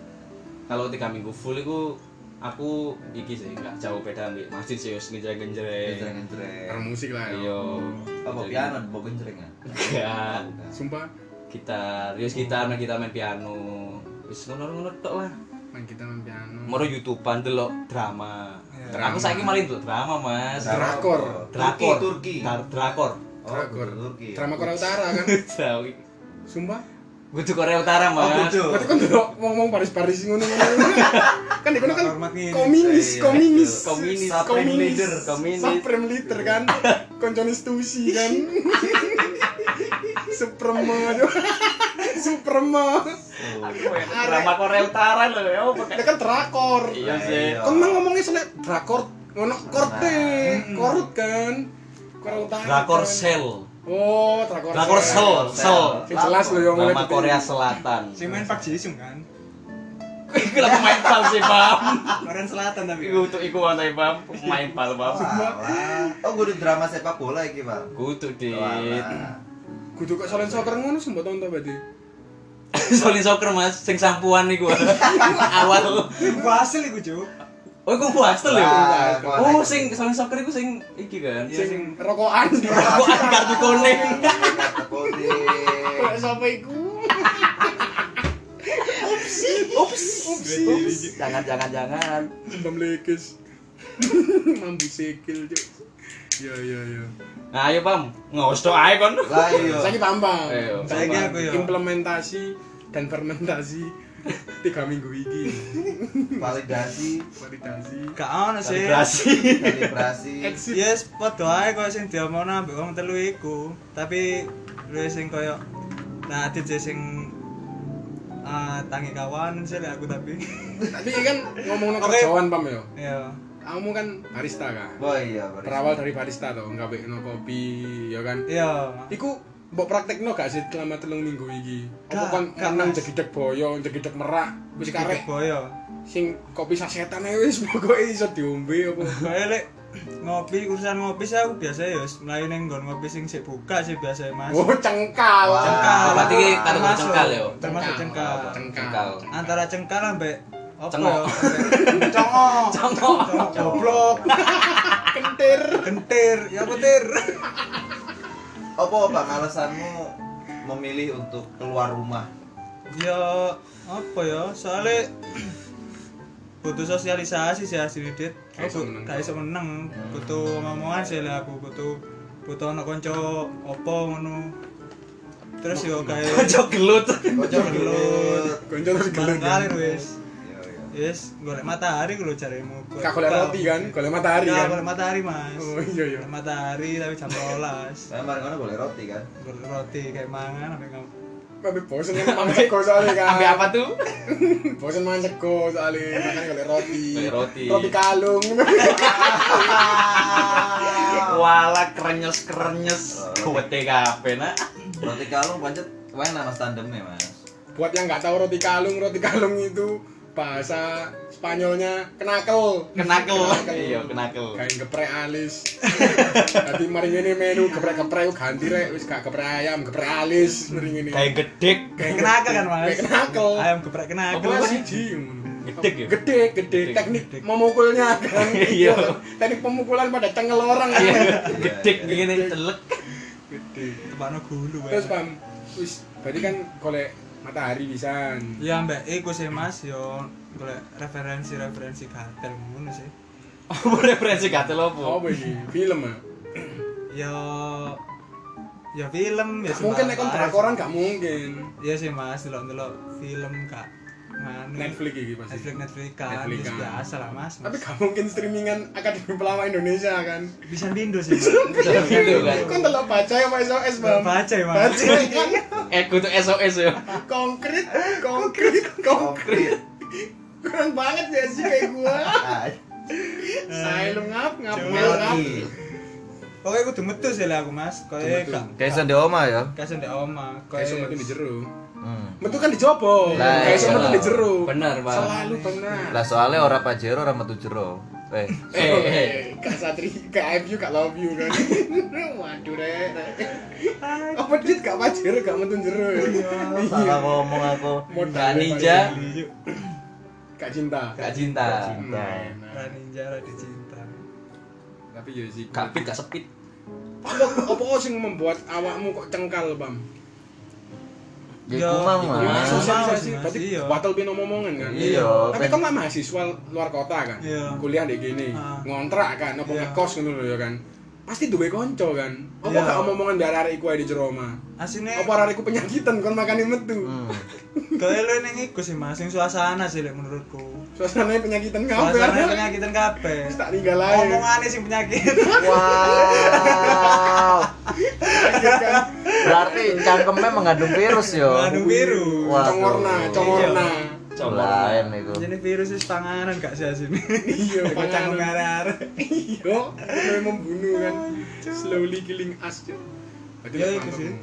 kalau tiga minggu full itu aku iki sih nggak jauh beda ambil masjid sih Iya. wis ngejar Bisa genjreng Karena ngenjreng. musik lah ya. yo Iya, Apa piano mbok genjreng ya? enggak Sumpah Iya. gitar yo gitar main gitar main piano wis ngono-ngono tok lah main kita main piano. moro youtubean delok drama Ya. aku saiki malah delok drama mas Iya. Drakor. Turki, drakor Turki. Dra- drakor Oh, Drakor. Turki. Drama Korea Utara kan. Jauh. Sumpah. Kudu Korea Utara Oh, mas kudu. Berarti kan dulu ngomong Paris-Paris ngono ngono. Kan di kono kan Hormat ngene. komunis, Iya, iya. komunis. Komunis. Supreme leader. Komunis. Supreme leader kan. Konstitusi kan. Suprema. Jo. Suprema. Oh. drama Korea Utara loh ya apa Ini kan drakor. Iya sih. Iya. Kan emang ngomongnya selek drakor ngono korte, korut kan. Korea Utara. Drakor kan. Sel. Oh, drakor. Drakor Sel, Sel. Sing jelas lo yang Drama Korea Selatan. Si main Pak Jisung kan. Iku lah pemain pal sih, Bam. Ah. Korea Selatan tapi. Iku untuk iku mantai Bam, pemain pal Bam. Walah. Oh, gue udah drama sepak bola ya, iki, Pak. Kutu dit. Oh, Walah. Kudu kok solen soccer ngono sumpah tonton berarti. Solin soccer Mas, sing sampuan iku. Awal. Hasil iku cuk. Oh, iku Bastel Wah, ya. gua Oh, lagi. sing solin soccer iku sing iki kan. Iya, Sing rokokan di Aku ada kartu kuning. Kata Kode. Kok sapa iku? Ups. Ups. Jangan jangan jangan. Bam lekes. Mambu sikil, Cuk. Ya ya ya. Nah, ayo Bam, ngosto ae kon. Lah iya. Saya tambah. Ayo, Saya tambah. Aku, yo. implementasi dan fermentasi tiga minggu ini Validasi, validasi Gak ono sih. Kalibrasi. kalibrasi. exit Yes, padha ae koyo sing diomongno ambek wong telu iku. Tapi luwih sing koyo nah Adit sih sing ah tangi kawan sih lah aku tapi. tapi kan ngomong Oke. kerjaan pam ya Ya. kamu kan barista kan Oh iya, baris. berawal dari barista toh nggak no kopi ya kan Ya. iku mbok praktekno gak sih selama telung minggu iki apa Gak, kon gak, menang Mas. jegidek boyo jegidek merak wis karek boyo. sing kopi sasetan ae wis pokoke iso diombe apa Kayak lek ngopi urusan ngopi sih aku biasa ya wis mlayu ning nggon ngopi sing sik buka sih biasa Mas. oh cengkal Wah. Cengkal. Berarti Termasuk- karo cengkal ya? Termasuk cengkal. cengkal Kal. Antara cengkal ambek apa Cengok. ya? Ambek- Cengok. Cangkok. Cengok goblok. kentir Kentir, ya petir. Apa Bang alasanmu memilih untuk keluar rumah? Ya apa ya? Soale butuh sosialisasi sih hasil dit. Gak iso meneng. Gak iso meneng. Butuh omongan sih lah aku butuh butuh ana kanca apa ngono. Terus yo kayak Kocok gelut. Kocok gelut. gonjol terus geleng bareng-bareng wis. Iya, iya. Yes, golek matahari kalau carimu. Kak golek roti kan, golek matahari Ya, kan. golek matahari, Mas. Oh, iya, iya. Golek matahari tapi jam 12. Saya kemarin kono boleh roti kan? golek roti kayak mangan sampai kamu. Tapi bosen kan makan sego soalnya kan. Ambil apa tuh? Bosen makan sego soalnya makan golek roti. Golek roti. Roti kalung. Ah. Wala krenyes krenyes. Kuwete kabeh nak. Roti kalung pancet wae nama standemnya, Mas. Buat yang nggak tahu roti kalung, roti kalung itu bahasa Spanyolnya kenakel. Kenakel. Iya, kenakel. Kain geprek alis. Tapi mari ngene menu geprek-geprek yuk ganti rek wis gak geprek ayam, geprek alis mari ngene. Kayak gedek. Kayak kenakel kan, Mas? Kayak kenakel. Ayam geprek kenakel. Kelas apa? siji ngono. Gedek ya? Gede, gede. Gedek, Teknik memukulnya kan. Iya. Teknik pemukulan pada cengel orang. Iya. Gedek ngene telek. Gede. Tepano gulu wae. Terus pam, wis berarti kan golek matahari pisan. Ya mbak, iku sih Mas, yo golek referensi-referensi gatel ngono sih. Apa referensi gatel opo? Apa iki? Film ah. Yo ya film ya Gak mungkin nek kon drakoran gak mungkin. Iya sih Mas, delok-delok film Kak. Nganu. Netflix iki pasti. Netflix Netflix kan, Netflix Yes, kan. biasa lah Mas. Mas. Tapi gak mungkin streamingan Akademi Pelama Indonesia kan. bisa bindo sih. Gitu kan. Kon telok baca ya Mas SOS, Bang. Baca ya, Mas. Baca kan. Eh kudu SOS ya. Konkret, konkret, konkret. Konkret. kurang banget ya sih kayak gua Ah, silent ngap ngap Coba ngap ngap iya. Pokoknya kudu metu sih lah aku Mas. Koe Kudu metu. gak Kayak sende oma ya. kasih ndek oma. Koe kayak sama di jeru Hmm. metu kan di jopo Lah, kayak sama iya. di jeru Bener, Pak. selalu benar Lah soalnya ora pajero ora metu jero. Eh, Eh, eh. Eh, Kak Satri, Kak MU, Kak Love You kan. Waduh, Rek. Rek. Apa dit Kak Pajer, Kak Mentun Jero. ya? salah ngomong aku. Modal Kak Pak Ninja. Jero. Kak Cinta. Nah, Kak Cinta. Cinta. Lah ninja lah dicinta. Tapi ya sih. Kak Pit, Kak Sepit. Apa apa sing membuat awakmu kok cengkal, Bam? Ya Yo, iku mah, iku Mas. Mas. Sosialisasi, Mas, berarti iya. batal pin omongan kan. Iya, Tapi pen- kamu kan mahasiswa luar kota kan. Iya. Kuliah di gini, Ah. ngontrak kan, apa Iya. ngekos ngono lho ya kan. Pasti duwe kanca kan. Apa Iya. gak omongan dari arek iku ae di jero omah? Asine apa rariku penyakitan kon makane metu Hmm. koe lu ning iku sih Mas, sing suasana sih lek menurutku. suasananya penyakitan ngapain Suasana penyakitan kabeh. tak tinggal aja Omongane sing penyakit. Wow. Berarti cangkemnya mengandung virus yo. Mengandung virus. Waduh. congorna congorna Lain itu. Jadi virus itu panganan gak sih asine. iya pangan Kacang merah. iya mulai membunuh kan slowly killing us cuy. Berarti Iya, memang itu sih. kamu.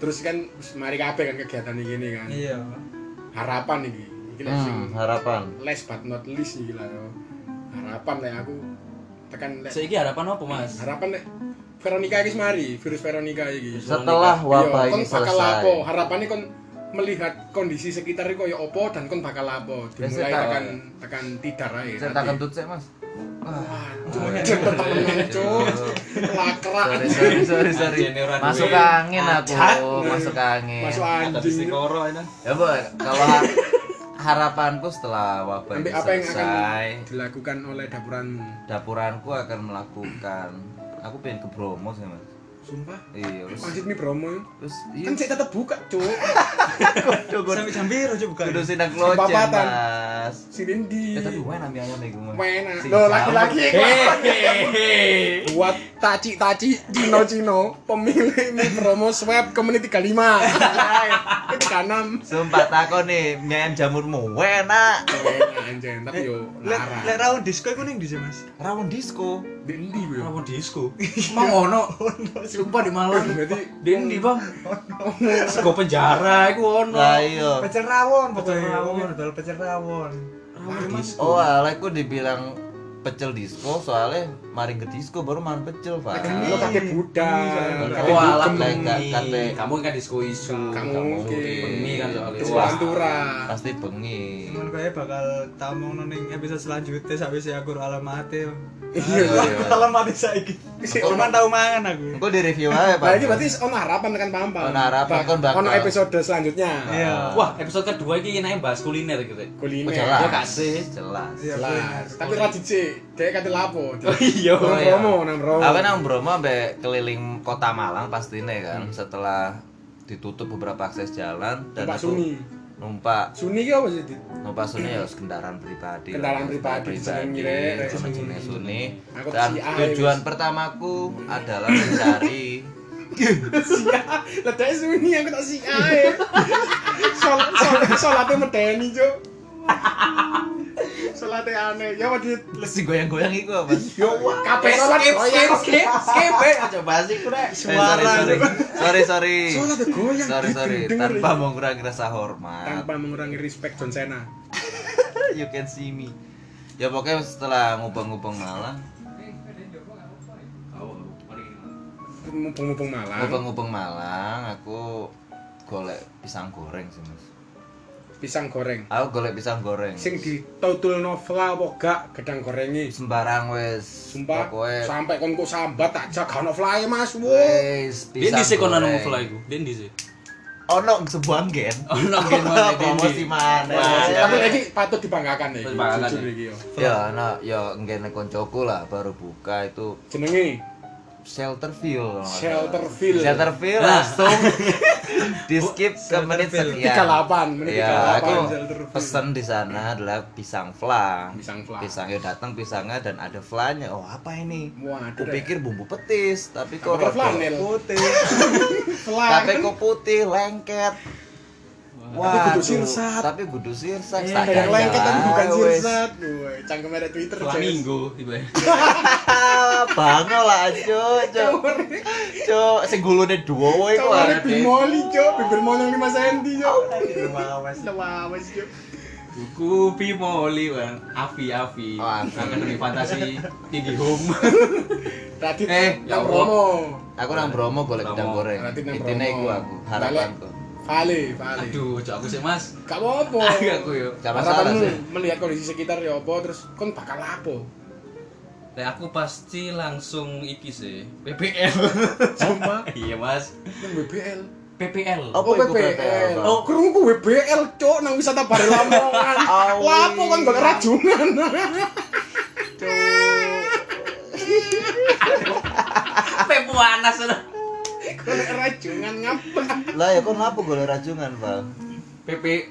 terus kan wis mari kabeh kan kegiatan ini gini kan Iya. harapan ini iki lah sing Hmm, harapan. last but not least iki lah yo. harapan lah aku tekan lah Saiki harapan apa, Mas? harapan lah Veronica iki mari virus Veronica iki Setelah wabah Iya, kon ini bakal apa? selesai. Harapannya kon melihat kondisi sekitar iku koyo apa dan kon bakal apa? Besok Dimulai tak- tekan tekan tidar ae. Saya tak kentut sih, Mas. Cepet temenan, Cuk. Lakrak. Sorry, sorry, sorry, sorry. Anjir, ini orang Masuk duit. angin aku, Ajak. masuk angin. Masuk Ada anjing. sisi koro ini. Ya, Bu, kalau har- harapanku setelah wabah ini Sampai apa yang akan selesai, dilakukan oleh dapuranmu? dapuranku akan melakukan aku pengen ke Bromo sih, Mas. Sumpah. Iya, terus Masjid Mi Bromo terus iya kan saya tetap buka, Cuk. Sampai jam biru aja bukan. kudu sinak lojan, Empapatan. Mas. Sini di. Ya tapi wae nami ayam iku mah. Iya. Wena. Sing Loh, jauh. laki-laki buat taci-taci Cino-Cino pemilik Mi Bromo Swab ke menit 35. Ke 36. Sumpah takon nih, mie ayam jamurmu enak. enak anjir tapi yo Lek lek larang rawan disco iku ning di Mas. Rawon disco. di endi kuwi yo? disco. Iya. Mau ono. Sumpah di Malang. berarti Dendi, Bang. Sego penjara iku ono. Lah iya. Pecel rawon pokoknya. Pecel rawon. Dol pecel rawon. Oh, ala aku dibilang pecel disco soalnya maring ke disco baru makan pecel, Pak. lo kate budak kate Oh, alah dugem, Lah, enggak, bengi. kate. Kamu kan disco isu. gak Gak mungkin mungkin. Bengi kan soalnya. Kecil Wah. pantura Pasti bengi. Cuman kowe bakal tamong ning episode selanjutnya sampai saya aku alamate. Iya, iya. Alamate saiki. Cuman tau mangan aku. Engko di review aja, Pak. Nah, ini berarti ono harapan kan paham paham. Ono harapan, kon bakal. Ono episode selanjutnya. Iya. Wah, episode kedua ini ya, enaknya bahas kuliner gitu. Oh, Kuliner. jelas. Ya, kasih. Jelas. Iya, Jelas. bener. Tapi ra dicek, dek kate lapo. Iya. Nang iya. promo, nang promo. Aku nang Bromo sampai keliling kota Malang pastinya Hmm. kan setelah ditutup beberapa akses jalan dan Numpak aku Suni. numpak Suni ki apa sih? Dit? numpak Suni ya kendaraan pribadi Kendaraan pribadi, disenengi, Rek. sama Suni Suni Aku dan si A, tujuan pertamaku adalah mencari Sia. Lah dek Suni aku tak sia ae. Salat salat salate medeni, Cuk. Salate aneh. Ya Dit. les goyang-goyang iku apa? Eh, Yo, kabeh Oh, iya. salat goyang. Ya skip, skip. eh. Coba sih kurang. Eh, sorry, sorry. Sorry, sorry. Salat goyang. Sorry, sorry. Denger, Tanpa ya. mengurangi rasa hormat. tanpa mengurangi respect John Cena. you can see me ya pokoknya setelah ngubeng-ngubeng Malang Mumpung-mumpung malam, ngubeng-ngubeng Malang aku golek pisang goreng sih mas pisang goreng. aku golek pisang goreng Sing ditutul novela apa gak gedang gorengi. sembarang wes Sumpah, pokoknya sampai kon kok sambat tak jak gak novelae Mas. Wo. wes Dia pisang di sih kono goreng. nemu fly iku. Dia di sih. ono sebuah gen Ono gen mana, iya, Dendi? promosi mana Promosi. Ya. Tapi iki patut dibanggakan iki. Dibanggakan, Jujur ya. iki yo. ya ono ya ngene koncoku lah baru buka itu Jenenge Shelterville Shelterville. Shelterville Nah. langsung di skip ke menit Iya. Shelterville. 38 sekian menit Iya, 38 aku Shelterville. pesen di sana adalah pisang fla. Pisang fla. Pisangnya datang pisangnya dan ada flanya. Oh, apa ini? Waduh. Aku pikir bumbu petis, tapi kok kok kan? Iya, rada- flanel. Putih. Flan. Tapi kok putih, lengket. Wah, kudu sirsat. tapi kudu sirsat. Eh, tak kayak kandang lengket tapi bukan ae, wes. sirsat. Woi, cangkem ada Twitter. Jess. Flamingo tiba Ah, Bangol lah, cuk, cuk. Cuk, sing gulune duo wae ku. Cowoknya arek. bimoli, cok. Bibir monyong 5 cm, cok. Lawas. Lawas, cok. Buku Pimoli, Bang. Avi Avi. Oh, Avi. Akademi Fantasi Tindi Home. Radit Eh, ya nang Allah. Bromo. Aku nang Bromo golek Bromo. gedang goreng. Berarti nang Intine Bromo. iku aku, harapanku. Vale, vale. Aduh, cok aku sih, Mas. Gak Oh. apa-apa. Agak aku yo. Gak Karena masalah kamu sih. melihat kondisi sekitar ya apa terus kon bakal apa? Lah aku pasti langsung iki sih. PPL. Sumpah, Iya, Mas. nang WBL. PPL. Apa iku PPL? Oh, kerungku WBL, cok, nang wisata Bare Lamongan. Awi. Lapo kon golek rajungan. Pepuanas lah. Golek rajungan ngapa? Lah ya kon lapo golek rajungan, Bang? PP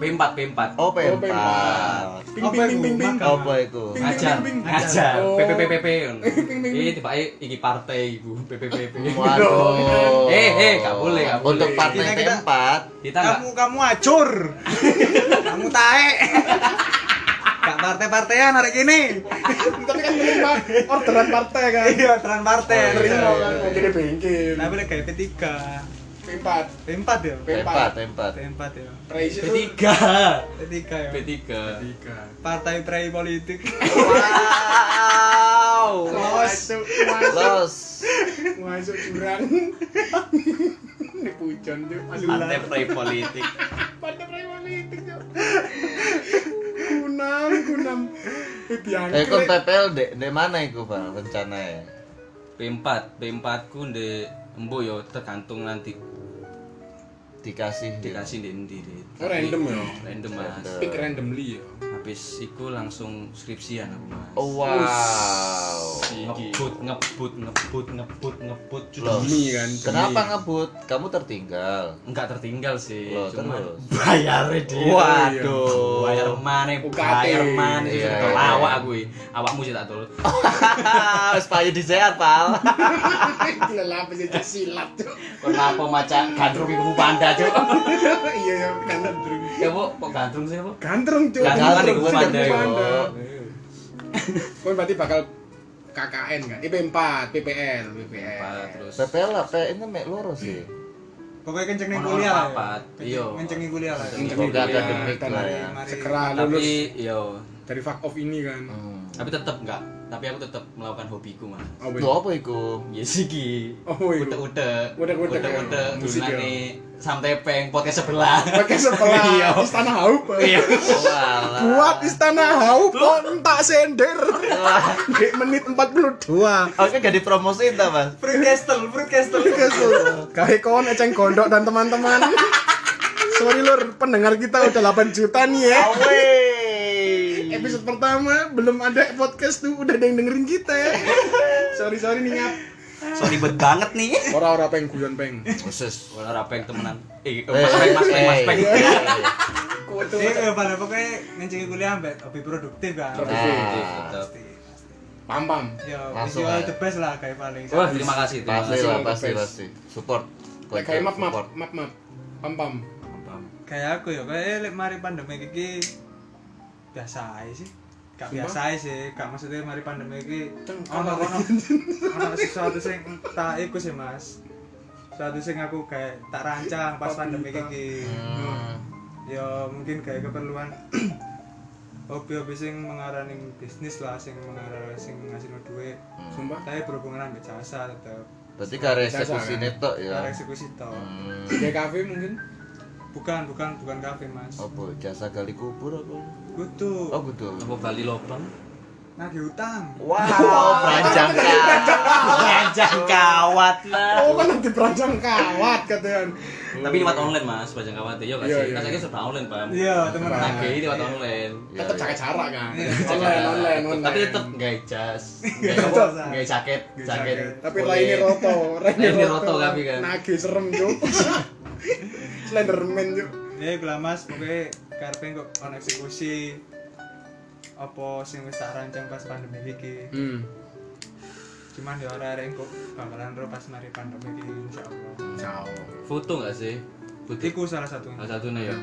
P4 P4. Oh, Oh, pempal. pempal. Ping ping ping ping ping. Apa iku? Ping, ngajar ping, ping. ngajar Oh. PPPPP ping, ping. eh tiba iki partai ibu PPPP Waduh. Eh, eh, gak boleh, gak boleh. Untuk partai Kita- kita- keempat, kita nggak Kamu kamu acur. kamu tae. Gak partai-partaian hari ini. Tapi kan menerima orderan partai kan. Iya, tren partai. Terima kan, mau jadi bengkel. Tapi lagi kayak P3. P4, P4 ya? keempat, keempat. P4 ya. Reis itu P3 P3 ya. P3 Partai Prei Politik. Wow. los, masuk, Los. masuk jurang. Ini pujon tuh, masuk partai pre politik Partai politik tuh. Kunam, kunam. Eh, Eh, kon diangkrek. PPL dek dek mana iku, Bang? Rencana ya. P4 P4 ku ndek embo yo tergantung nanti Dikasih. dikasih di endi Dit. Oh, random ya? random mas Random. Pick randomly ya. habis iku langsung skripsian aku mas Oh, wow. ngebut ngebut ngebut ngebut ngebut Loh, cuci Demi kan, demi. Kenapa ngebut? Kamu tertinggal. nggak tertinggal sih Loh, cuma terus. bayar Iya, dia Waduh. bayar mana UKT. bayar mana itu Iya, sudah iya, lawak iya. aku i. awakmu sih tak tol Wes payu disehat, Pal. Gila lapis aja silat tuh. kenapa maca gandrung ibu panda cuk Iya ya, gandrung. ya bu kok gandrung sih bu Gandrung tuh. Gandrung, Gandrung, kumanda, gandrung, yo. kumanda. Kon berarti bakal KKN kan? Eh, P4, PPL, PPL. Apa, terus PPL apa? Ini mek loro sih. Pokoknya kencengin Ono-ono kuliah lah. ya. papat, iya. Kencengin kuliah lah. ya. Kencengin Semoga kuliah, akademik dan lah Mari, ya. mari. Segera lulus tapi yo dari fuck off ini kan. Hmm. tapi tetap enggak tapi aku tetap melakukan hobiku mas Oh, wait. Lho apa iku? ya siki Oh, iya. utek utek Utek-utek, utek utek iya. Musik, dulane iya. sam tepeng podcast sebelah Pakai sekolah Iya. istana haup. Iya. Walah. Buat istana haup kontak sender. Di menit 42. Oke, gak dipromosiin ta, Mas? Fruit Castle, Fruit Castle. Kahe kon eceng gondok dan teman-teman. Sorry lur, pendengar kita udah 8 juta nih ya. Awey. Episode pertama belum ada podcast tuh udah ada yang dengerin kita. ya. Sorry sorry nih ngap. sorry bet banget nih Ora-ora peng guyon peng. Khusus. Walau rapeng temenan eh Eh, mas peng mas peng mas eh, peng eh. Iya, pada pokoknya kencengin kuliah sampai lebih produktif kan. Produktif. Nah, Tetep. Pam pam. Ya, Langsung visual aja. the best lah kayak paling. Wah, terima kasih, terima pasti kasih. lah, pasti pasti. Support. Kayak kayak map map map map. Pam pam. Kayak aku ya, kayak lek mari pandemi iki biasa aja sih. Gak Sumpah? Kan biasa aja sih, gak maksudnya mari pandemi iki Teng, ono kamar. ono ono sesuatu sing tak iku sih Mas. Sesuatu sing aku kayak tak rancang pas Tapi pandemi tak- iki. Hmm. ya mungkin kayak keperluan hobi-hobi sing mengarani bisnis lah sing mengarah sing ngasih duit Sumpah. tapi berhubungan ambek jasa tetep Berarti karya Biasa, eksekusi kan? netok ya. ya. eksekusi to Hmm. Di kafe mungkin. bukan bukan bukan kafe mas Apa jasa gali kubur apa? kudu Oh, gitu. Apa Bali lobang? nagih utang Wow, panjang Panjang kawat lah. Oh kan nanti perancang kawat katanya. Tapi lewat online mas, panjang kawat. Iya gak Iya, sih? iya, Kan saya iya. serba online paham. iya teman Nah, Nage nagih lewat online. Tetap jaga jarak kan. Iya, Online online online. Tapi tetap nggak jas, nggak Nggak apa, jas. nggak jaket, Nggak jaket. jaket. Tapi kulit. Raini Roto, Raini Roto kami kan. Nage serem cuk. Slenderman cuk. ya gula mas pokoknya karepe kok on eksekusi apa sing wis tak rancang pas pandemi iki Hmm. cuman ya ora arek kok bakalan ro pas mari pandemi iki insyaallah Ciao. Foto nggak sih? Putih. Iku salah satunya. Salah satunya ya.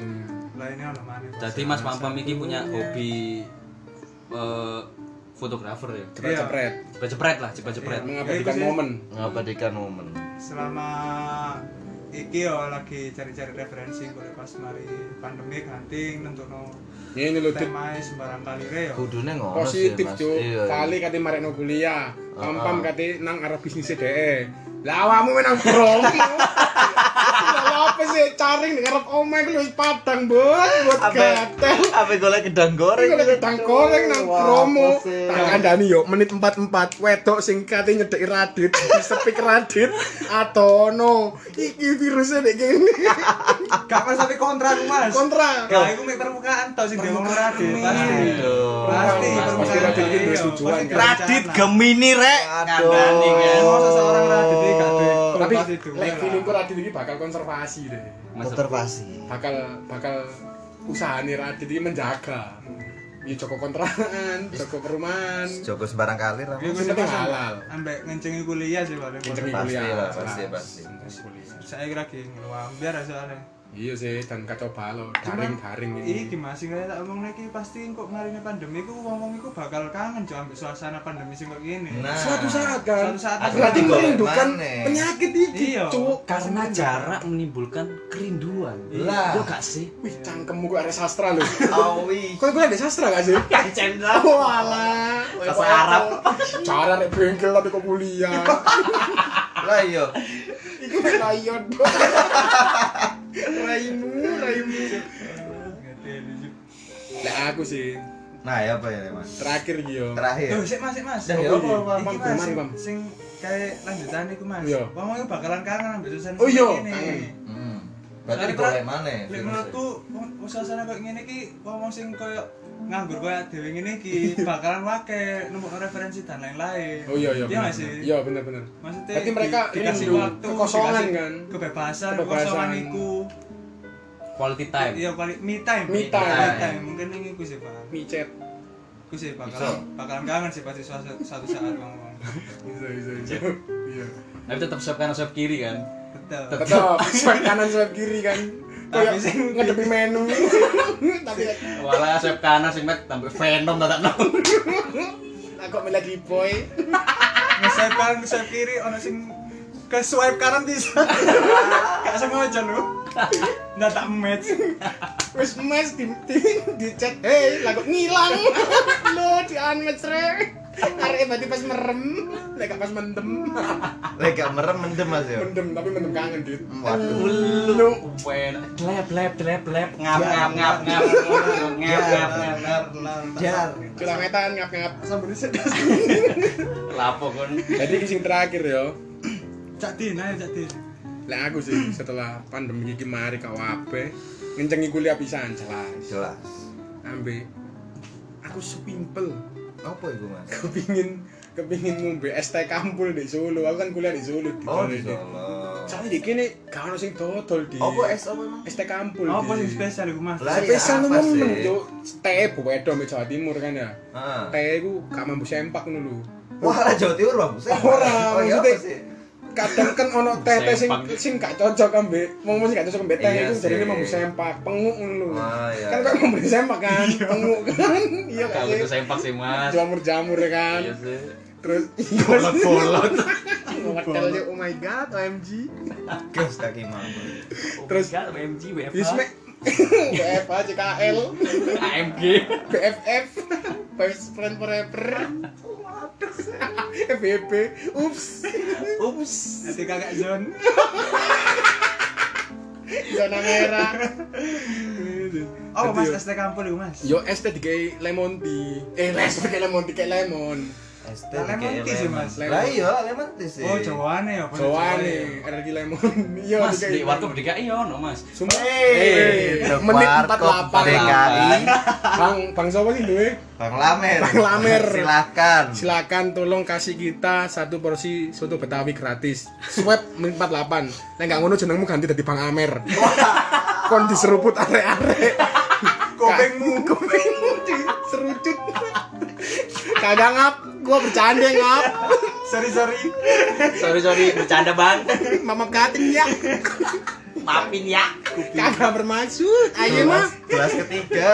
Lainnya ono maneh. Jadi Mas Pampam ini punya hobi eh, fotografer ya. Iya. cepret-cepret Cepet-cepet lah, cepet-cepet. mengabadikan Iya, iya. momen Mengabadikan momen. Selama iki yo lagi cari-cari referensi boleh pas mari pandemi hunting tentuno ya ini lho Dit. tema e sembarang ya. kalire yo. Kudune ngono sih, positif Mas. cuk Iya, Ah, iya. kali kate marekno kuliah pampam kate nang arah bisnis dhewe lah awakmu main nang promo Lah apa sih caring di ngarep omah iku wis padang bos buat gatel Apa golek gedang goreng? Iku lagi tang koreng nang Wah, promo apa sih? tak kandhani yo menit 44 wedok sing kate nyedeki radit di sepik radit atono iki virusnya dek kene Ah, Gak mas tapi kontra aku, Mas. kontra Gak iku mek permukaan tok sing demo Radit pasti. Aduh. Pasti Pasti permukaan Radit iya, itu iya, tujuan, pasti kan? Radit direncana. Gemini rek. Kandhani, kan? Oh, seseorang Radit iki gak duwe Oh. tapi pasti duwe lek lah. feelingku radit iki bakal konservasi deh Mas- Observasi. bakal bakal usaha nih Radit ini menjaga ya Joko kontrakan, Joko perumahan Joko sembarang kali lah. Iku Sing sih penting Mas, halal. Ambek ngencengi kuliah sih paling. Ngencengi Pasti kuliah. lah, pasti, pasti. Saya lagi ngeluam biar soalnya. iya sih dan kacau balau Cuman, daring-daring ini Iki mas, sing kaya tak omong lagi pasti kok marine pandemi ku wong-wong iku bakal kangen jauh ambil suasana pandemi sing kok gini. Nah. Ah. suatu saat kan Suatu saat berarti Aku merindukan maneh. penyakit iki Iya. cuk Karena jarak menimbulkan kerinduan. Lah. Yo gak sih? wih cangkemmu kok ada sastra lho Awi. kok gue ada sastra gak sih? Ya, Kancen walah Sastra Arab. cara nek bengkel tapi kok kuliah Lah iya. iku mek layon raimu raimu lek aku sih Nah, ya apa ya, Mas? terakhir iki yo Duh, Terakhir. sik mas, sik mas. Dah, Iki, ya apa, apa, Mam, mas, Mam, sing- Mam. sing kayak lanjutan iku mas. Iya. Wong-wong iku bakalan kangen ambil suasana Oh, sing iya, ngene. kangen. Hmm. Berarti ya, Soalnya golek pra- maneh. Lek menurutku wong- wong suasana kok ngene iki wong-wong sing koyo nganggur koyo dhewe ngene iki bakalan wake nemu referensi dan lain-lain. oh iya iya Iya bener. gak sih? iya bener-bener Maksudnya Berarti mereka di- dikasih rindu waktu, kekosongan, dikasih kan? Kebebasan, Kebebasan. kekosongan iku. Quality time. Iya, kali me time. Me time. Mungkin ini iku sih, Pak. micet Iku sih Bisa. bakal bakalan kangen sih pasti suatu, suatu saat ngomong. bisa bisa bisa iya Tapi tetap swab kanan swab kiri kan. Betul. tetap swipe kanan swipe kiri kan kayak Tapi sing- ngedepi menu tapi Walah swab kanan sing met tambah venom tak tak aku melihat di boy Nge-swipe kanan, nge-swipe kiri ono sing ke swipe kanan bisa. Gak sengaja lu. Nggak tak match. wis mes di di, di chat hey lagu ngilang lo di unmatch re Arek berarti pas merem, lek gak pas mendem. Lek gak merem mendem Mas ya. Mendem tapi mendem kangen, Dit. Waduh. Lu pen. Lep lep lep lep ngap ngap ngap ngap ngap ngap ngap ngap. Jar. Kilometan ngap-ngap. Sambil disedah. Lapo kon. Jadi sing terakhir yo. Cak Din, ayo Cak Din. Lek aku sih setelah pandemi iki mari kau ape ngencengi kuliah pisan jelas. Jelas. Ambe aku sepimpel Apa itu, Mas? kepingin kepingin ngombe es teh kampul di Solo. Aku kan kuliah di Solo di Oh, Solo. di Solo. Soalnya di kene gak ono sing dodol di. Apa es apa emang? Es teh kampul. Apa Di. sih spesial iku, Mas? Lah, Spesial Iya, Apa nemen sih? cuk. Teh bobeda me Jawa Timur kan ya. Heeh. Teh iku gak mampu sempak ngono lho. Ah. Wah, lah Jawa Timur Bang. Buset. Ora, Oh, iya, apa maksudnya- sih? kadang kan ono teh teh sing Sempak. sing gak cocok ambe mau sing gak cocok ambe teh Iya itu jadi sih. mau sempak penguk ngono lho. Ah, iya. kan kok mau sempak kan penguk kan iya Gak kan butuh sempak sih Mas. jamur jamur kan Iya sih. terus Bolot bolot. hotel oh my god OMG Gas kaki mama. Oh, Terus- Iya, BMG Yusme WFA BFA CKL AMG. BFF Best Friend Forever FBB ups Ups. Nanti kakak John. zona merah Oh, Mas Nanti, ST kampung iku, Mas. yo es teh dikai lemon tea eh les pakai lemon tea kayak lemon Es teh Lah, lemon pakai tea sih, Mas. Lah iya, lemon tea sih. Oh, Jawane ya, bener Jawa Jawane. nih, energi lemon. Iya, Mas dikai di warkop lemon. DKI ya ono Mas. Sumpah. Eh, Eh, menit Warkop 48. DKI. Bang, Bang Sopo sih duwe? Bang Lamer. Bang Lamer. Silakan. Silakan tolong kasih kita satu porsi soto Betawi gratis. Swab menit 48. Nek gak ngono jenengmu ganti dadi Bang Amer. Kon diseruput arek-arek. Kopengmu, kopengmu diserucut. Kagak ngap, Gua bercanda ngap. sorry sorry sorry sorry bercanda bang Mama kating ya. maafin ya Kagak bermaksud. Ayo mah. Kelas ketiga.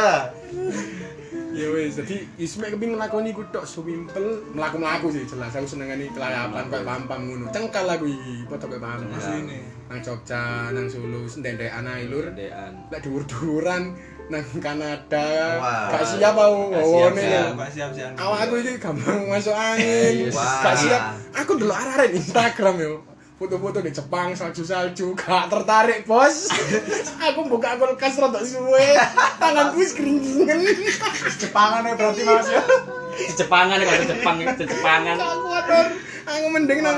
Ya wes, jadi Ismek kepin nglakoni iku tok swimpel, mlaku-mlaku sih jelas. Aku senengane kelayapan koyo pampam ngono. Cengkal aku iki, padha koyo pampam. Di sini Nang Jogja, nang Solo, sendendekan ae lur. Dean Lek dhuwur-dhuwuran nang Kanada. Wah. Gak siap aku Gak wawone. siap, mbak siap siap Awak aku iki gampang masuk angin. Wah. Gak siap. Aku delok arah Instagram yo. Foto-foto di Jepang salju-salju gak tertarik, Bos. aku buka kulkas rada suwe. Tanganku wis keringgingan. Jepangan ya berarti mas ya Jepangan ya kalau Jepang Jepangan Gak kuat Don. Aku mending nang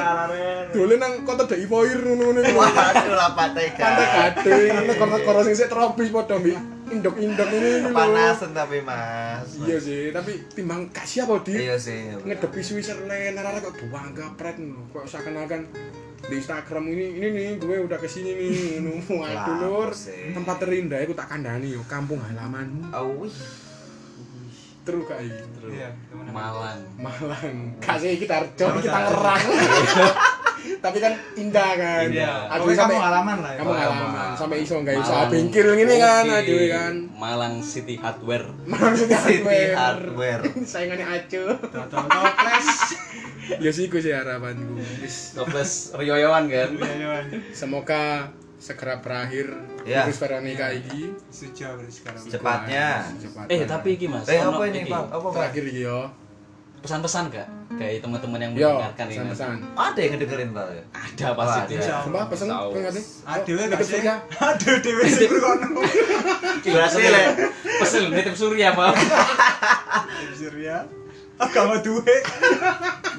dolen nang kota Dai Poir ngono-ngono iku. Waduh lapak tega. Pantai gading, negara-negara sing sik tropis padha mbek indok-indok ini iku lho. Panasan tapi mas. Iya sih, tapi timbang gak siap apa di Iya sih. bener. ngedepi Switzerland arah kok buang gapret ngono. Kok seakan-akan di Instagram ini ini nih gue udah kesini nih ngono. Waduh lur, sih. tempat terindah aku tak kandani yo, kampung halamanmu. Awih. Terus gak iki? iya temenan. Malang Malang. Gak sih kita Harjo, kita ngerang. Tapi kan indah kan. Indah. Aduh Pokoknya sampai kamu halaman lah ya kamu Oh, ngalaman emang. sampai iso nggak iso Malang. bengkil gini kan Oke. aduh kan Malang City Hardware maksudnya City hardware Hardware. saingannya acu Tau-tau toples ya sih gue sih harapanku Wis, Toples Rioyoan kan semoga segera berakhir Ya. virus Veronica ini Sujo berarti sekarang Secepatnya. Cepat. Eh tapi iki mas Eh ono apa ini iki. Oh, pak? Apa pak? terakhir iki yo Pesan-pesan gak? Kayak teman-teman yang yo mendengarkan ini pesan-pesan Ada yang ngedengerin pak Iya. ya? Ada pasti Ada. ya Sumpah pesen Tahu. kau ngerti? Aduh Oh, gak nitip sih surya. Aduh dewe sih kono Berarti ya? le Pesen nitip surya pak Surya Aku gak mau duit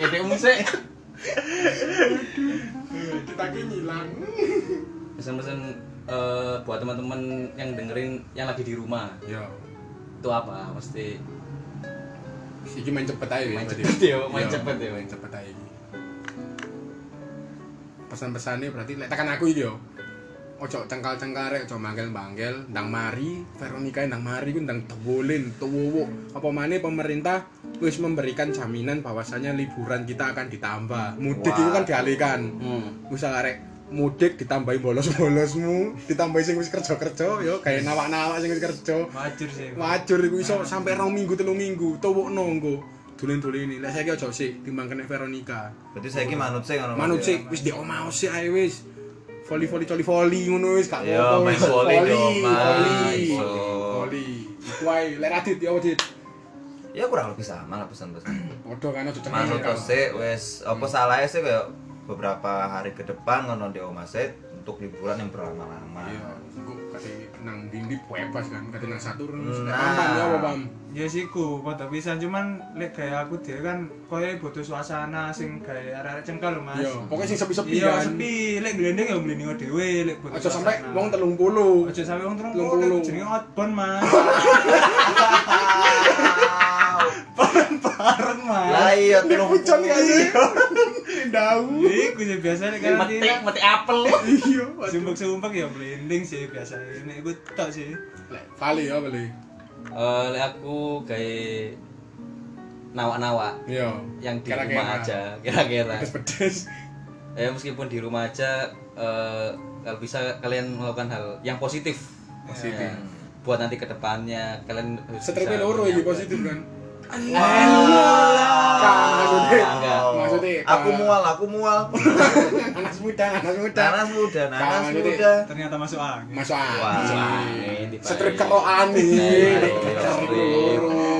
Ngedek musik Eh, Kita ki ngilang. Pesan-pesan eh, buat teman-teman yang dengerin yang lagi di rumah Yo. itu apa mesti Iki Iya, main cepet aja. Main berarti. Iya, cepet ya, main cepet ya. Main cepet aja. iki. Pesan-pesannya berarti lek tekan aku iki yo. Ojo cengkal-cengkal rek, ojo manggel-manggel, ndang mari, Veronica ndang mari ku ndang dobolin, tuwowo. Apa maneh pemerintah wis memberikan jaminan bahwasannya liburan kita akan ditambah. Mudik Wah. itu kan dialihkan. hmm. Usah arek mudik ditambahi bolos-bolosmu, ditambahi sing wis kerja-kerja yo, kayak nawak-nawak sing wis kerja. Wajur sih Wajur iku iso sampe rong minggu, telung minggu, tuwukno engko. Dulen-duleni. Lah saiki aja sik timbang kena Veronica. Berarti saya ki manut sih ngono. ya? Manut sik wis di omah sik ae wis. Voli-voli coli voli ngono wis gak Iya, apa-apa. wis. main voli di Voli, omah, voli, iso. Voli. Iku ae lek Radit ya Radit. Ya kurang lebih sama lah pesan-pesan. Padha kan aja cengeng. manut sih wes apa salahnya sih kayak beberapa hari ke depan ngono di omah sih untuk liburan yang berlama-lama Iya, engko kate nang dindi bebas kan, kate nang Saturn wis Nah. pam ya apa pam. Ya sih ku, pada pisan cuman lek gaya aku dia kan koyo butuh suasana sing gaya arek cengkel Mas. Yo, pokoknya sing sepi-sepi Iya, kan. sepi. Lek glendeng ya glendeng dhewe lek butuh. Aja sampe suasana. wong 30. Aja sampe wong 30 Telung puluh. jenenge outbound, Mas. Bareng, lah Mas. iya telung Iya. Hujan kan. Daun. Iya, Iku sih biasa lek metik karantina. metik apel Iya, Sumpek-sumpek ya glendeng sih biasa. Nek iku tok sih. Lek Vali ya Vali. Eh, lek aku kayak nawak-nawak Iya. yang di Kira-kira. rumah aja kira-kira Pedes-pedes. ya meskipun di rumah aja eh, kalau bisa kalian melakukan hal yang positif Positif. Ya, buat nanti kedepannya kalian harus Setripe bisa loro iki menyambut. positif kan. Kan, maksudnya. Maksudnya, Maksudnya, eh, aku Kak. mual, aku mual. Anak muda, anak muda. Nanas muda, Kak, nanas Nah, maksudnya. muda. Ternyata masuk angin. Masuk Wah, angin. ini Setrip baik. kerokan iya, iki. Baik, Setrip baik. loro.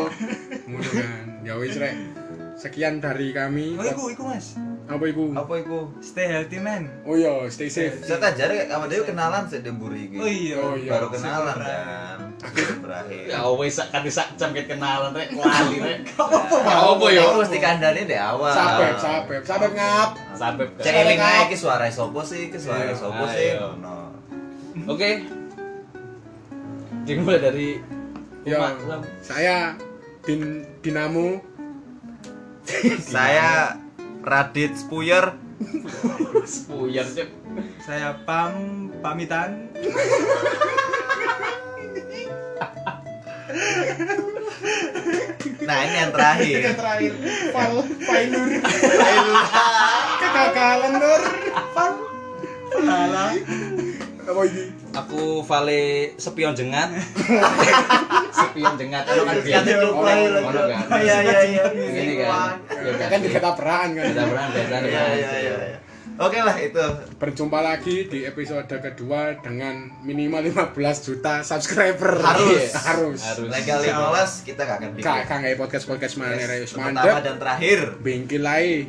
Ngono kan. Ya wis rek. Sekian dari kami. Oh iku, iku Mas. Apa iku? Apa itu? Stay healthy, man. Oh iya, stay safe. Saya tak jare sama dia kenalan sih Demburi iki. Oh iya. Oh iya. Gitu. Baru kenalan kan. Berakhir. ya always sak kan sak jam ket kenalan rek lali rek Apa apa ya? Aku mesti kandani deh awal. Sabep, sabep, sabep ngap. sampai Cek eling ae iki suara sopo sih, iki suara Iya. sopo sih. Ayo. Ngono. oke dimulai dari Yo. Umak, Ulam. Saya Din Dinamo. Saya Radit Spuyer. Sepuyar sih Saya pam pamitan. Nah, ini yang terakhir. yang terakhir fal failur Ayolah. kegagalan nur fal Alah. apa ini Aku Vale Sepion Jengat. Sepion jengat kalau kan Iya, biasa iya, orang iya. orang kan. Iya, iya, iya. Ini kan. Iya, Ya kan di kata peraan kan Kita berang biasa kan. Iya, iya, iya. iya. Oke lah itu. berjumpa lagi di episode kedua dengan minimal 15 juta subscriber Iya, Harus. harus Harus. Legal 15 kita gak akan bikin. kak kak podcast podcast mana Yes, Reus Pertama mandek dan terakhir. bengkel lain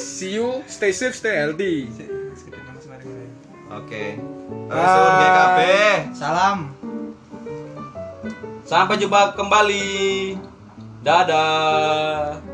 see you stay safe stay healthy Oke. Suwun GKB. Salam. Sampai jumpa kembali. Dadah.